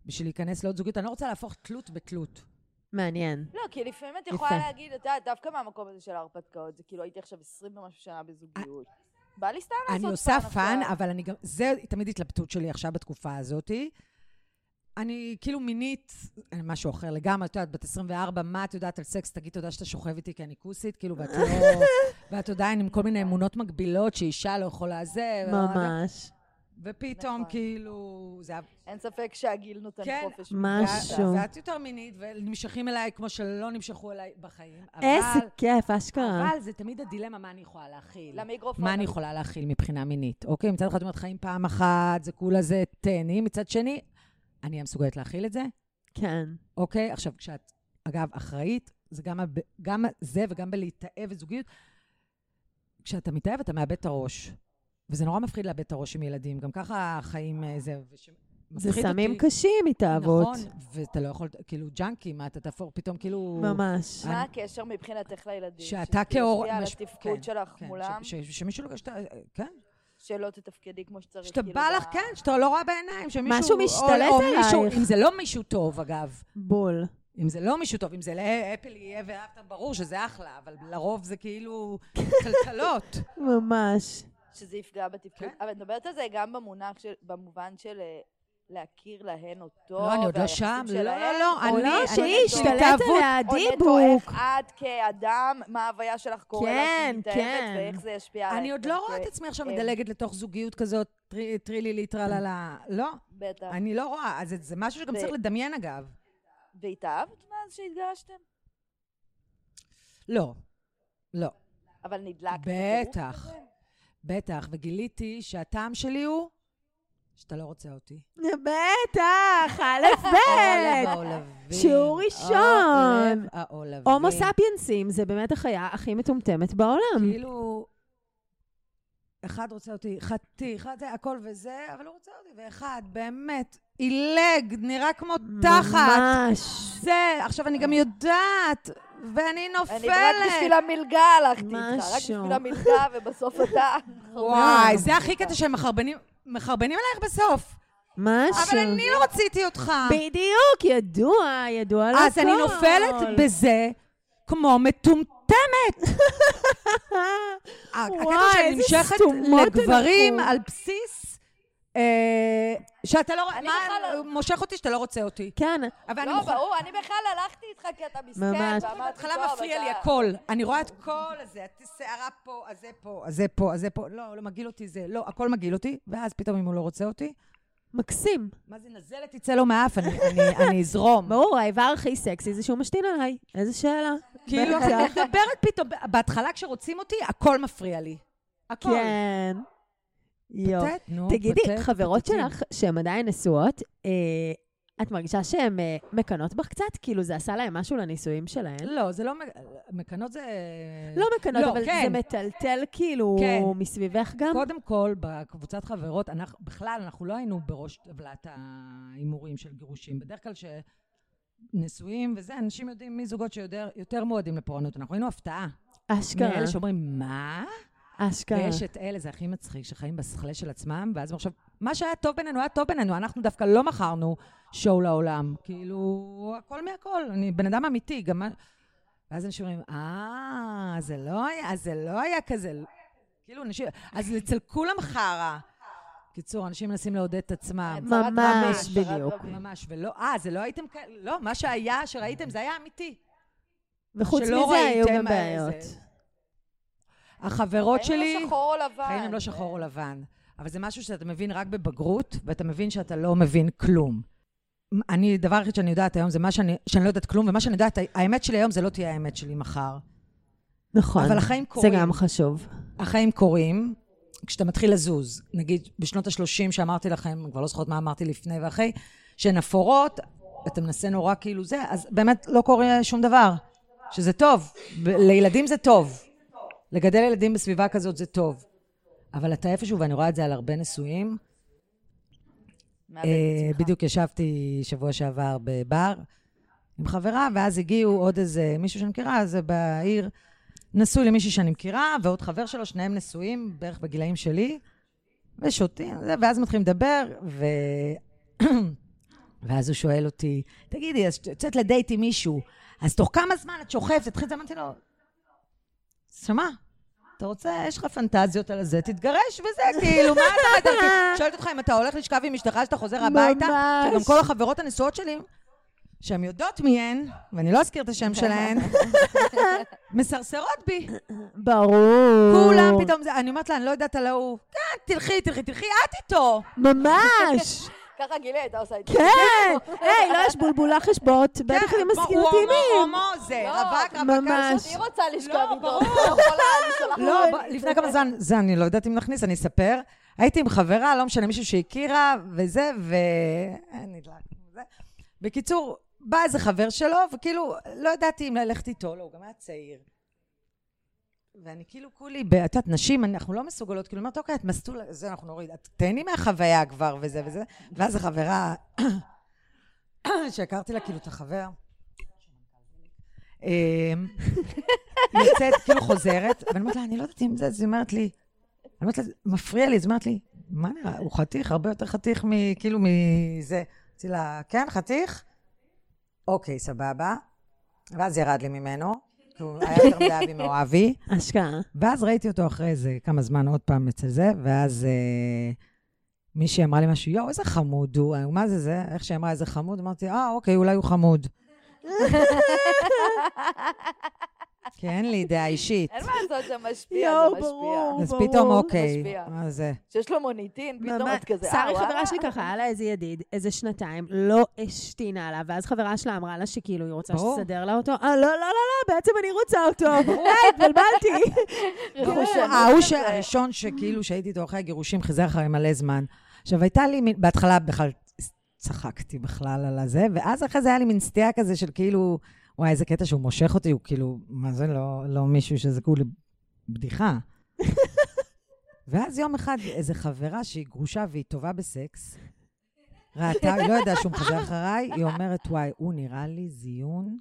S5: בשביל להיכנס לעוד זוגיות. אני לא רוצה להפוך תלות בתלות.
S4: מעניין.
S1: לא, כי לפעמים את
S4: יפה.
S1: יכולה להגיד, את יודעת, דווקא מהמקום הזה של ההרפתקאות, זה כאילו הייתי עכשיו 20 ומשהו שנה בזוגיות. בא לי סתם לעשות
S5: אני עושה פאן,
S1: עכשיו.
S5: אבל אני גם... זה תמיד התלבטות שלי עכשיו בתקופה הזאת. אני כאילו מינית, אני משהו אחר לגמרי, את יודעת, בת 24, מה את יודעת על סקס? תגיד תודה שאתה שוכב איתי כי אני כוסית, כאילו, ואת לא... ואת עדיין עם כל מיני אמונות מגבילות שאישה לא יכולה זה.
S4: ממש.
S5: ופתאום
S1: נכון.
S5: כאילו, זה היה...
S1: אין ספק שהגיל נותן
S5: כן,
S1: חופש.
S4: משהו.
S1: מוחלט.
S5: ואת יותר מינית, ונמשכים אליי כמו שלא נמשכו אליי בחיים. אבל-
S4: איזה כיף, אשכרה.
S5: אבל זה תמיד הדילמה, מה אני יכולה להכיל.
S1: למיקרופון.
S5: מה אני יכולה להכיל מבחינה מינית, אוקיי? מצד אחד, את אומרת, חיים פעם אחת, זה כולה זה תהני, מצד שני, אני אהיה מסוגלת להכיל את זה,
S4: כן.
S5: אוקיי? עכשיו, כשאת, אגב, אחראית, זה גם, הב- גם זה וגם בלהתאהב בזוגיות, כשאתה מתאהב, אתה מאבד את הראש. וזה נורא מפחיד לאבד את הראש עם ילדים, גם ככה החיים אה, זה... וש-
S4: זה
S5: מפחיד
S4: סמים
S5: אותי.
S4: קשים מתאהבות.
S5: נכון, ואתה לא יכול, כאילו, ג'אנקי, מה אתה תפור פתאום, כאילו...
S4: ממש.
S1: מה הקשר מבחינתך לילדים?
S5: שאתה
S1: שכאילו
S5: כאור...
S1: שתהיה על
S5: מש-
S1: התפקוד
S5: כן,
S1: שלך
S5: כן,
S1: מולם,
S5: ש- ש- שמישהו לא... שאתה- כן.
S1: שלא תתפקדי כמו שצריך.
S5: שאתה
S1: כאילו,
S5: בא לך,
S1: ב-
S5: כן, שאתה לא רואה בעיניים, שמישהו...
S4: משהו
S5: או-
S4: משתלט
S5: או מישהו-
S4: עלייך.
S5: אם זה לא מישהו טוב, אגב.
S4: בול.
S5: אם זה לא מישהו טוב, אם זה לאפל יהיה ואהבת, ברור שזה אחלה, אבל לרוב זה כאילו טלטלות.
S4: ממש.
S1: שזה יפגע בתפקוד.
S5: כן.
S1: אבל את מדברת על זה גם במונח של, במובן של אה, להכיר להן אותו.
S5: לא, אני עוד לא
S1: והיחסים
S5: שם. לא,
S1: שלהן.
S5: לא, לא, אני...
S4: לא,
S5: אני-
S4: שהיא
S5: אני-
S4: השתלט
S5: התאהבות.
S4: עליה,
S1: או נטו
S4: דיבוק.
S1: איך את כאדם, מה ההוויה שלך קורה לה
S4: כן,
S1: שהיא
S4: כן.
S1: מתאהבת, ואיך זה ישפיע עלייך.
S5: אני עוד לא רואה את עצמי
S1: אה.
S5: עכשיו מדלגת לתוך זוגיות כזאת, טרי- טרילילי, טרללה. לא,
S1: בטח.
S5: אני לא רואה. אז זה- זה משהו שגם
S1: זה-
S5: צריך לדמיין, אגב.
S1: והתאהבת מאז שהתגרשתם?
S5: לא. לא.
S1: אבל נדלקת.
S5: בטח. בטח, וגיליתי שהטעם שלי הוא שאתה לא רוצה אותי.
S4: בטח, א'
S5: העולב
S4: ב'.
S5: העולבים.
S4: שיעור אה, ראשון.
S5: העולב העולבים.
S4: הומו ספיינסים זה באמת החיה הכי מטומטמת בעולם.
S5: כאילו, אחד רוצה אותי, חתי, אחד זה, הכל וזה, אבל הוא רוצה אותי, ואחד, באמת, עילג, נראה כמו תחת.
S4: ממש.
S5: זה, עכשיו אני גם יודעת, ואני
S1: אני רק בשביל
S5: נופלת.
S1: המלגה הלכתי איתך, רק
S4: משהו.
S1: בשביל המלגה, ובסוף אתה...
S5: וואי, זה הכי קטע שהם מחרבנים, מחרבנים עלייך בסוף.
S4: משהו.
S5: אבל אני לא רציתי אותך.
S4: בדיוק, ידוע, ידוע לכל.
S5: אז אני נופלת בזה כמו מטומטמת. הקטע
S4: וואי,
S5: שאני
S4: איזה
S5: נמשכת
S4: סתומות
S5: לגברים
S4: אנחנו.
S5: על בסיס אה, שאתה לא...
S1: אני
S5: מה,
S1: בכלל לא-
S5: מושך אותי שאתה לא רוצה אותי.
S4: כן,
S5: אבל אני
S1: לא,
S5: מוכנה...
S1: ברור, לא, אני בכלל הלכתי איתך כי אתה מסכן,
S4: ממש.
S1: ואמרתי,
S5: בהתחלה
S1: "טוב,
S5: מפריע
S1: אתה-
S5: לי הכל. אני רואה את כל הזה, את שערה פה, הזה פה, הזה פה, הזה פה. לא, לא מגעיל אותי זה. לא, הכל מגעיל אותי. ואז פתאום אם הוא לא רוצה אותי,
S4: מקסים.
S5: מה זה נזלת תצא לו מהאף, אני- אני- אני אזרום.
S4: ברור, האיבר הכי סקסי זה שהוא משתין עליי. איזה שאלה.
S5: כאילו,
S4: בטח.
S5: אני מדברת פתאום, בהתחלה כשרוצים אותי, הכל מפריע לי. הכל.
S4: כן. יופי.
S5: פתט, נכון. נו,
S4: תגידי,
S5: פתט,
S4: חברות
S5: פתטים.
S4: שלך שהן עדיין נשואות, אה, את מרגישה שהן אה, מקנות בך קצת? כאילו זה עשה להן משהו לנישואים שלהן?
S5: לא, זה לא... מ- מקנות זה...
S4: לא מקנות,
S5: לא,
S4: אבל
S5: כן.
S4: זה מטלטל כאילו
S5: כן.
S4: מסביבך גם.
S5: קודם כל, בקבוצת חברות, אנחנו, בכלל, אנחנו לא היינו בראש טבלת ההימורים של גירושים. בדרך כלל שנשואים וזה, אנשים יודעים מי זוגות שיותר יותר מועדים לפורענות. אנחנו היינו הפתעה.
S4: אשכרה.
S5: מאלה שאומרים, מה?
S4: כן.
S3: אשכרה.
S5: ויש את אלה, זה הכי מצחיק, שחיים בשכלה של עצמם, ואז הם עכשיו, מה שהיה טוב בינינו היה טוב בינינו, אנחנו דווקא לא מכרנו שואו לעולם. כאילו, הכל מהכל, אני בן אדם אמיתי, גם מה... ואז אנשים אומרים, אה, זה לא היה, אז זה לא היה כזה. כאילו, אנשים, אז אצל כולם חרא. קיצור, אנשים מנסים לעודד את עצמם.
S6: צרת רבים,
S4: ממש,
S6: צרת
S4: בדיוק.
S6: רבים.
S5: ממש, ולא, אה, זה לא הייתם כאלה, לא, מה שהיה, שראיתם, זה היה אמיתי.
S3: וחוץ
S5: שלא
S3: מזה היו
S5: ראיתם,
S3: גם
S5: אה,
S3: בעיות.
S5: זה- החברות
S6: חיים
S5: שלי...
S6: לא שחור או לבן.
S5: חיים הם לא שחור או לבן. אבל זה משהו שאתה מבין רק בבגרות, ואתה מבין שאתה לא מבין כלום. אני, דבר היחיד שאני יודעת היום זה מה שאני, שאני לא יודעת כלום, ומה שאני יודעת, האמת שלי היום זה לא תהיה האמת שלי מחר.
S4: נכון.
S5: אבל החיים
S4: זה
S5: קורים.
S4: גם חשוב.
S5: החיים קורים, כשאתה מתחיל לזוז, נגיד בשנות ה-30 שאמרתי לכם, אני כבר לא זוכרת מה אמרתי לפני ואחרי, שהן אפורות, אתה מנסה נורא כאילו זה, אז באמת לא קורה שום דבר, שזה טוב, ב- לילדים זה טוב, לגדל ילדים בסביבה כזאת זה טוב, אבל אתה איפשהו, ואני רואה את זה על הרבה נשואים,
S6: מאבד את
S5: אה,
S6: עצמך.
S5: בדיוק ישבתי שבוע שעבר בבר עם חברה, ואז הגיעו עוד איזה מישהו שאני מכירה, זה בעיר, נשוי למישהי שאני מכירה, ועוד חבר שלו, שניהם נשואים בערך בגילאים שלי, ושותים, זה, ואז מתחילים לדבר, ו... ואז הוא שואל אותי, תגידי, אז את יוצאת לדייט עם מישהו, אז תוך כמה זמן את שוכבת? תתחיל את זה, אמרתי לו, שמע, אתה רוצה, יש לך פנטזיות על הזה, תתגרש וזה, כאילו, מה אתה מדבר? שואלת אותך אם אתה הולך לשכב עם אשתך כשאתה חוזר הביתה,
S3: ממש.
S5: שגם כל החברות הנשואות שלי, שהן יודעות מי הן, ואני לא אזכיר את השם שלהן, מסרסרות בי.
S3: ברור.
S5: כולם פתאום זה, אני אומרת לה, אני לא יודעת על ההוא. כן, תלכי, תלכי, תלכי את איתו.
S3: ממש.
S6: ככה גילי הייתה עושה את זה.
S3: כן. היי, לא, יש בולבולי חשבוט.
S4: כן,
S3: בטח אני מסכים
S5: הוא
S3: אותי עם
S5: כן, הומו, הומו זה,
S6: לא,
S5: רווק, רווקה.
S3: ממש.
S6: היא רוצה לשכב
S5: לא,
S6: איתו,
S5: ברור.
S6: היא לא יכולה, אני שולחת
S5: לא, ב- לפני כמה זמן, זה אני לא יודעת אם נכניס, אני אספר. הייתי עם חברה, לא משנה, מישהו שהכירה, וזה, ו... אה, נדלק. זה. בקיצור, בא איזה חבר שלו, וכאילו, לא ידעתי אם ללכת איתו, לא, הוא גם היה צעיר. ואני כאילו כולי, ב- את יודעת, נשים, אנחנו לא מסוגלות, כאילו, אומרת, אוקיי, את מסטול, זה אנחנו נוריד, את תהני מהחוויה כבר, וזה וזה. ואז החברה, שהכרתי לה, כאילו, את החבר, אמ, יוצאת, כאילו חוזרת, ואני אומרת לה, אני לא יודעת אם זה, אז היא אומרת לי, אני אומרת לה, מפריע לי, אז היא אומרת לי, מה נראה, הוא חתיך, הרבה יותר חתיך מ- כאילו מזה. אמרתי לה, כן, חתיך? אוקיי, סבבה. ואז ירד לי ממנו, כי הוא היה יותר מדי אבי מאוהבי.
S3: אשכרה.
S5: ואז ראיתי אותו אחרי זה כמה זמן עוד פעם אצל זה, ואז אה, מישהי אמרה לי משהו, יואו, איזה חמוד הוא, אה, מה זה זה? איך שהיא אמרה, איזה חמוד, אמרתי, אה, אוקיי, אולי הוא חמוד. כי אין לי דעה אישית.
S6: אין מה לעשות, זה משפיע,
S3: יואו,
S6: זה משפיע.
S3: ברור.
S5: אז פתאום,
S3: ברור.
S5: אוקיי,
S6: משפיע.
S5: מה זה?
S6: שיש לו מוניטין, פתאום
S4: ממש.
S6: את כזה, אה,
S4: שרי
S6: וואלה.
S4: חברה שלי ככה, היה לה איזה ידיד, איזה שנתיים, לא השתינה עליו, ואז חברה שלה אמרה לה שכאילו היא רוצה
S5: ברור.
S4: שתסדר לה אותו,
S3: אה, לא, לא, לא, לא, בעצם אני רוצה אותו. היי, התבלבלתי.
S6: רכושנות
S5: כן, ההוא
S6: כזה.
S5: הראשון שכאילו שהייתי איתו אחרי הגירושים, חזר אחרי מלא זמן. עכשיו, הייתה לי, מין- בהתחלה בכלל צחקתי בכלל על הזה, ואז אחרי זה היה לי מין סטייה כזה של כאילו, וואי, איזה קטע שהוא מושך אותי, הוא כאילו, מה זה, לא, לא מישהו שזה כאילו בדיחה. ואז יום אחד איזו חברה שהיא גרושה והיא טובה בסקס, ראתה, היא לא ידעה שהוא מחזר אחריי, היא אומרת, וואי, הוא נראה לי זיון.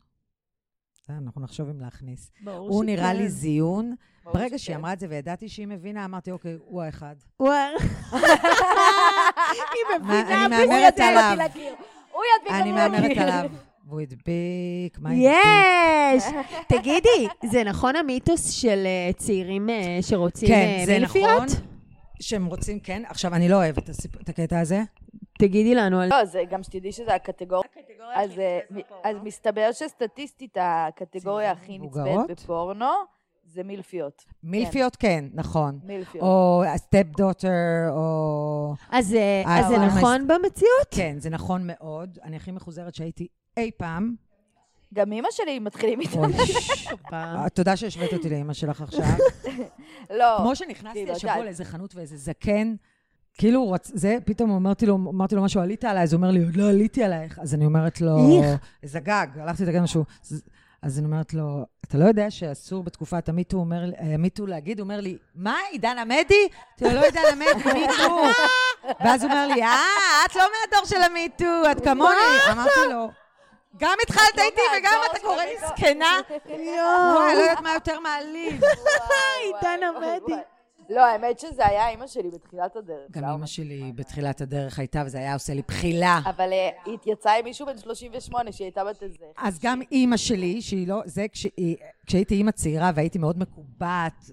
S5: אנחנו נחשוב אם להכניס. הוא נראה לי זיון,
S6: ברור
S5: ברגע
S6: שכן.
S5: שהיא אמרה את זה וידעתי שהיא מבינה, אמרתי, אוקיי, הוא האחד.
S3: וואי.
S5: אני
S6: הוא
S5: מהמרת
S6: ידביק
S5: עליו.
S6: אותי לקיר. הוא ידביק
S5: אני
S6: אותי
S5: מהמרת
S6: לקיר.
S5: עליו. והוא הדביק, מה הדביק?
S4: יש! תגידי, זה נכון המיתוס של אה, צעירים אה, שרוצים
S5: כן,
S4: אה,
S5: זה נכון.
S4: מילפיות?
S5: שהם רוצים, כן. עכשיו, אני לא אוהבת את הסיפ- את הקטע הזה.
S4: תגידי לנו
S5: אה,
S4: על...
S6: לא,
S1: אה,
S6: זה גם שתדעי שזה הקטגוריה. אז, אה, מ- אז מסתבר שסטטיסטית הקטגוריה הכי
S5: מבוגרות?
S6: נצפית בפורנו זה מילפיות.
S5: מילפיות, כן, נכון.
S6: מילפיות.
S5: או סטפ דוטר, או...
S4: אז אה,
S5: אה,
S4: אז זה
S5: אבל-
S4: נכון במציאות?
S5: כן, זה נכון מאוד. אני הכי מחוזרת שהייתי אי פעם.
S6: גם אימא שלי מתחילים איתה.
S5: אוי, ש-
S4: אה,
S5: תודה שהשווית אותי לאימא שלך עכשיו.
S6: לא.
S5: כמו שנכנסתי
S6: כאילו,
S5: השבוע
S6: יודעת. לאיזה
S5: לאיזה חנות ואיזה זקן, כאילו, הוא רצ- זה, פתאום אמרתי לו, אמרתי לו משהו, עלית עליי, אז הוא אומר לי, עוד לא עליתי עלייך. אז אני אומרת לו,
S4: איך?
S5: איזה גג, הלכתי לתקן משהו. אז- אז אני אומרת לו, אתה לא יודע שאסור בתקופת המיטו אומר לי- אה, המיטו להגיד, הוא אומר לי, מה, עידן עמדי? אמרתי לו, לא עידן עמדי, מיטו. ואז הוא אומר לי, אה, את לא מהדור של המיטו, את כמוני. אמרתי לו, גם
S1: לא,
S5: התחלת איתי וגם
S6: לא מהדור
S5: אתה
S6: של
S5: קורא לי
S6: המיטו." לא
S5: זקנה?
S3: יואו.
S5: אה,
S4: אה,
S5: וואי, לא יודעת מה יותר מעליב.
S6: וואי,
S3: עידן
S6: וואי,
S3: עמדי.
S6: וואי.
S1: לא, האמת שזה היה אימא שלי בתחילת הדרך.
S5: גם
S1: למה?
S5: אימא שלי בתחילת הדרך הייתה, וזה היה עושה לי בחילה.
S1: נכון, אה. אבל אה, היא התייצאה עם מישהו בן 38 שהיא הייתה בת איזה...
S5: אז גם אימא שלי, שהיא לא... זה כשהיא... כשהייתי אימא צעירה והייתי מאוד מקובעת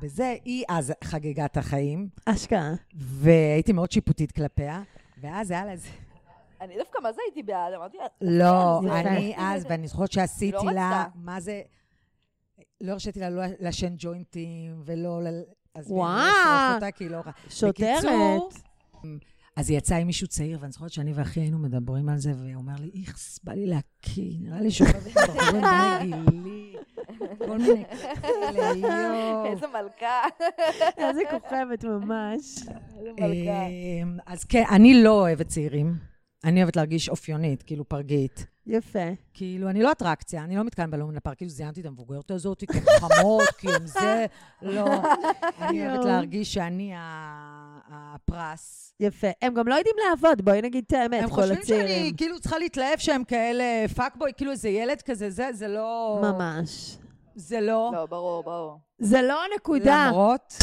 S5: בזה, היא אז חגגה את החיים,
S7: אשכרה.
S5: והייתי מאוד שיפוטית כלפיה, ואז היה לה איזה...
S1: אני דווקא מה זה הייתי בעד, אמרתי לה,
S5: לא,
S1: זה-
S5: אני אז, ואני זוכרת שעשיתי
S1: לא
S5: לה,
S1: רצתה.
S5: מה זה, לא הרשיתי לה לא לעשן ג'וינטים ולא ל... אז
S4: וואו.
S5: אני אשרוף אותה כי היא לא רע.
S4: שוטרת.
S5: בקיצור, אז היא יצאה עם מישהו צעיר, ואני זוכרת שאני ואחי היינו מדברים על זה, והוא אומר לי, איכס, בא לי להקיא, נראה לי שוכבים בחורים בני גילי, כל מיני כאלה, יואו.
S1: איזה מלכה,
S4: איזה כוכבת ממש.
S1: איזה מלכה.
S5: אמ, אז כן, אני לא אוהבת צעירים. אני אוהבת להרגיש אופיונית, כאילו פרגית.
S4: יפה.
S5: כאילו, אני לא אטרקציה, אני לא מתקלם בלום לפארק, כאילו זיינתי את המבוגרת הזאת, כי הן חמות, כי הן זה, לא. אני אוהבת להרגיש שאני ה- הפרס.
S4: יפה. הם גם לא יודעים לעבוד, בואי נגיד את האמת,
S5: הם
S4: כל
S5: חושבים שאני
S4: הצעירים.
S5: כאילו צריכה להתלהב שהם כאלה פאקבוי, כאילו איזה ילד כזה, זה, זה לא...
S4: ממש.
S5: זה לא...
S1: לא, ברור, ברור.
S4: זה לא הנקודה.
S5: למרות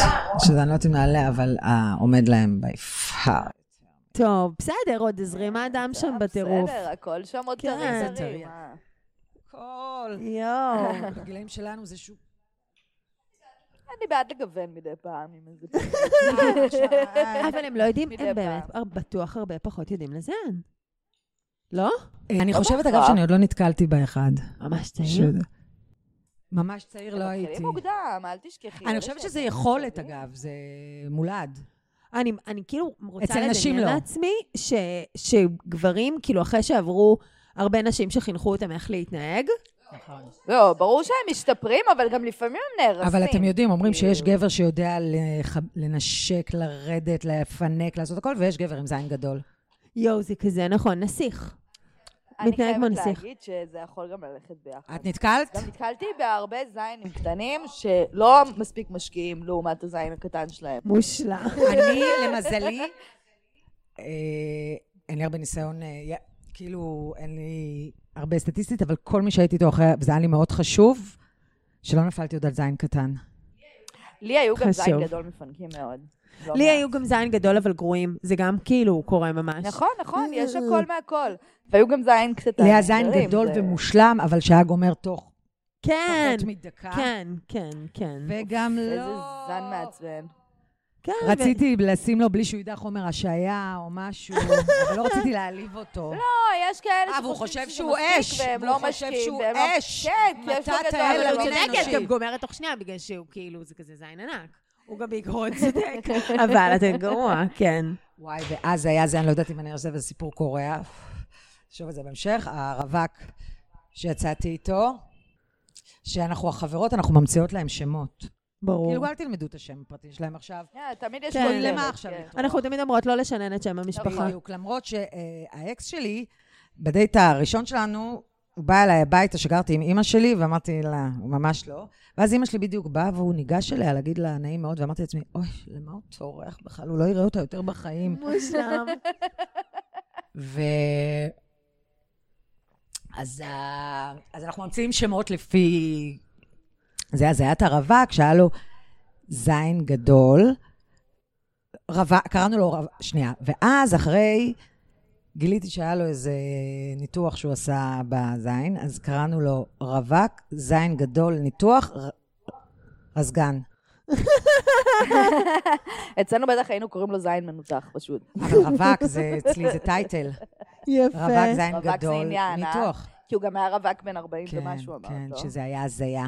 S5: שזה אני לא יודעת אם נעלה, אבל אה, עומד להם ביפר.
S4: טוב, בסדר, עוד
S5: אה,
S4: הזרימה דם שם בטירוף.
S1: אה, בסדר, הכל שם עוד
S4: כן.
S1: טרי
S5: זה
S1: טרי.
S5: טרי.
S1: מה?
S5: כל...
S4: יואו.
S5: בגילאים שלנו זה שוב...
S1: אני בעד לגוון מדי פעם עם איזה...
S4: אבל הם לא יודעים,
S1: אה, מדי
S4: הם באמת
S1: פעם.
S4: הר- בטוח הרבה פחות יודעים לזיין. לא?
S5: אני חושבת, אגב,
S1: בהכרח.
S5: שאני עוד לא נתקלתי באחד.
S4: ממש צעיר.
S5: ש- ממש צעיר לא הייתי.
S1: מתחילים אוקיי, מוקדם, אל תשכחי.
S5: אני
S1: אלה
S5: חושבת
S1: שהם
S5: שזה
S1: מתחילים.
S5: יכולת, אגב, זה מולד.
S4: אני, אני כאילו רוצה
S5: אצל נשים
S4: לדמיין
S5: לא.
S4: לעצמי ש, שגברים, כאילו אחרי שעברו הרבה נשים שחינכו אותם איך להתנהג,
S5: נכון.
S1: לא, ברור שהם משתפרים, אבל גם לפעמים הם נהרסים.
S5: אבל אתם יודעים, אומרים שיש
S1: כאילו.
S5: גבר שיודע לח- לנשק, לרדת, לפנק, לעשות הכל, ויש גבר עם זין גדול.
S4: יואו, זה כזה נכון, נסיך. מתנהג כמו
S1: אני
S4: נסיך.
S1: חייבת להגיד שזה יכול גם ללכת ביחד.
S5: את נתקלת?
S1: גם נתקלתי בהרבה זיינים קטנים שלא מספיק משקיעים לעומת הזין הקטן שלהם.
S4: מושלם.
S5: אני, למזלי, אה, אין לי הרבה ניסיון, אה, י- כאילו, אין לי הרבה סטטיסטית, אבל כל מי שהייתי איתו אחרי, וזה היה לי מאוד חשוב, שלא נפלתי עוד על זין קטן.
S1: לי היו גם זין
S4: חשוב.
S1: גדול מפנקים מאוד. לא
S4: לי
S1: מעט.
S4: היו גם זין גדול אבל גרועים, זה גם כאילו קורה ממש.
S1: נכון, נכון, יש הכל מהכל. והיו גם זין קטן.
S5: לי היה זין
S1: אחרים,
S5: גדול
S1: זה-
S5: ומושלם, אבל שהיה גומר תוך
S4: כן,
S5: פחות מדקה.
S4: כן, כן, כן.
S5: וגם לא...
S1: איזה זן מעצבן.
S4: כן, ו-
S5: רציתי לשים לו בלי שהוא ידע חומר השעיה או משהו, אבל לא רציתי להעליב אותו.
S1: לא, יש כאלה
S5: אה,
S1: שחושבים
S5: והוא חושב
S1: שזה
S5: שהוא אש,
S1: מספיק והם
S5: והוא
S1: לא
S5: חושב
S1: משקיעים.
S5: שהוא
S1: והם לא-
S5: אש.
S1: כן, כי יש לו
S5: מתת
S1: גדול.
S5: האל
S1: אבל
S4: אבל
S1: לא
S4: הוא
S5: אנושי.
S4: צודק, את גם גומרת תוך שנייה בגלל שהוא כאילו, זה כזה זין ענק. הוא גם בעיקרון צודק, אבל אתם גרוע, כן.
S5: וואי, ואז היה זה, אני לא יודעת אם אני עושה איזה סיפור קורע. נחשוב על זה בהמשך. הרווק שיצאתי איתו, שאנחנו החברות, אנחנו ממציאות להם שמות.
S4: ברור.
S5: כאילו, אל תלמדו את השם הפרטי שלהם עכשיו.
S1: כן, תמיד יש
S4: כן.
S1: כל זה,
S5: למה עכשיו
S1: כן.
S5: לטרוח?
S4: אנחנו תמיד אומרות לא לשנן את שם המשפחה.
S5: בדיוק, למרות שהאקס שלי, בדייט הראשון שלנו, הוא בא אליי הביתה, שגרתי עם אימא שלי, ואמרתי לה, ממש לא. ואז אימא שלי בדיוק באה, והוא ניגש אליה להגיד לה, נעים מאוד, ואמרתי לעצמי, אוי, למה הוא טורח בכלל? הוא לא יראה אותה יותר בחיים.
S4: מושלם.
S5: ו... אז, ה- אז אנחנו ממציאים שמות לפי... זה הזיית הרווק, שהיה לו זין גדול. רווק, קראנו לו רווק, שנייה. ואז אחרי, גיליתי שהיה לו איזה ניתוח שהוא עשה בזין, אז קראנו לו רווק, זין גדול, ניתוח, ר... רזגן.
S1: אצלנו בטח היינו קוראים לו זין מנותח פשוט.
S5: אבל רווק, זה אצלי, זה טייטל. רווק,
S4: יפה.
S5: זין
S1: רווק זה
S5: גדול,
S1: עניין, אה?
S5: ניתוח.
S1: כי הוא גם היה רווק בן 40
S5: כן,
S1: ומשהו, אמרת.
S5: כן,
S1: לא?
S5: שזה היה הזיה.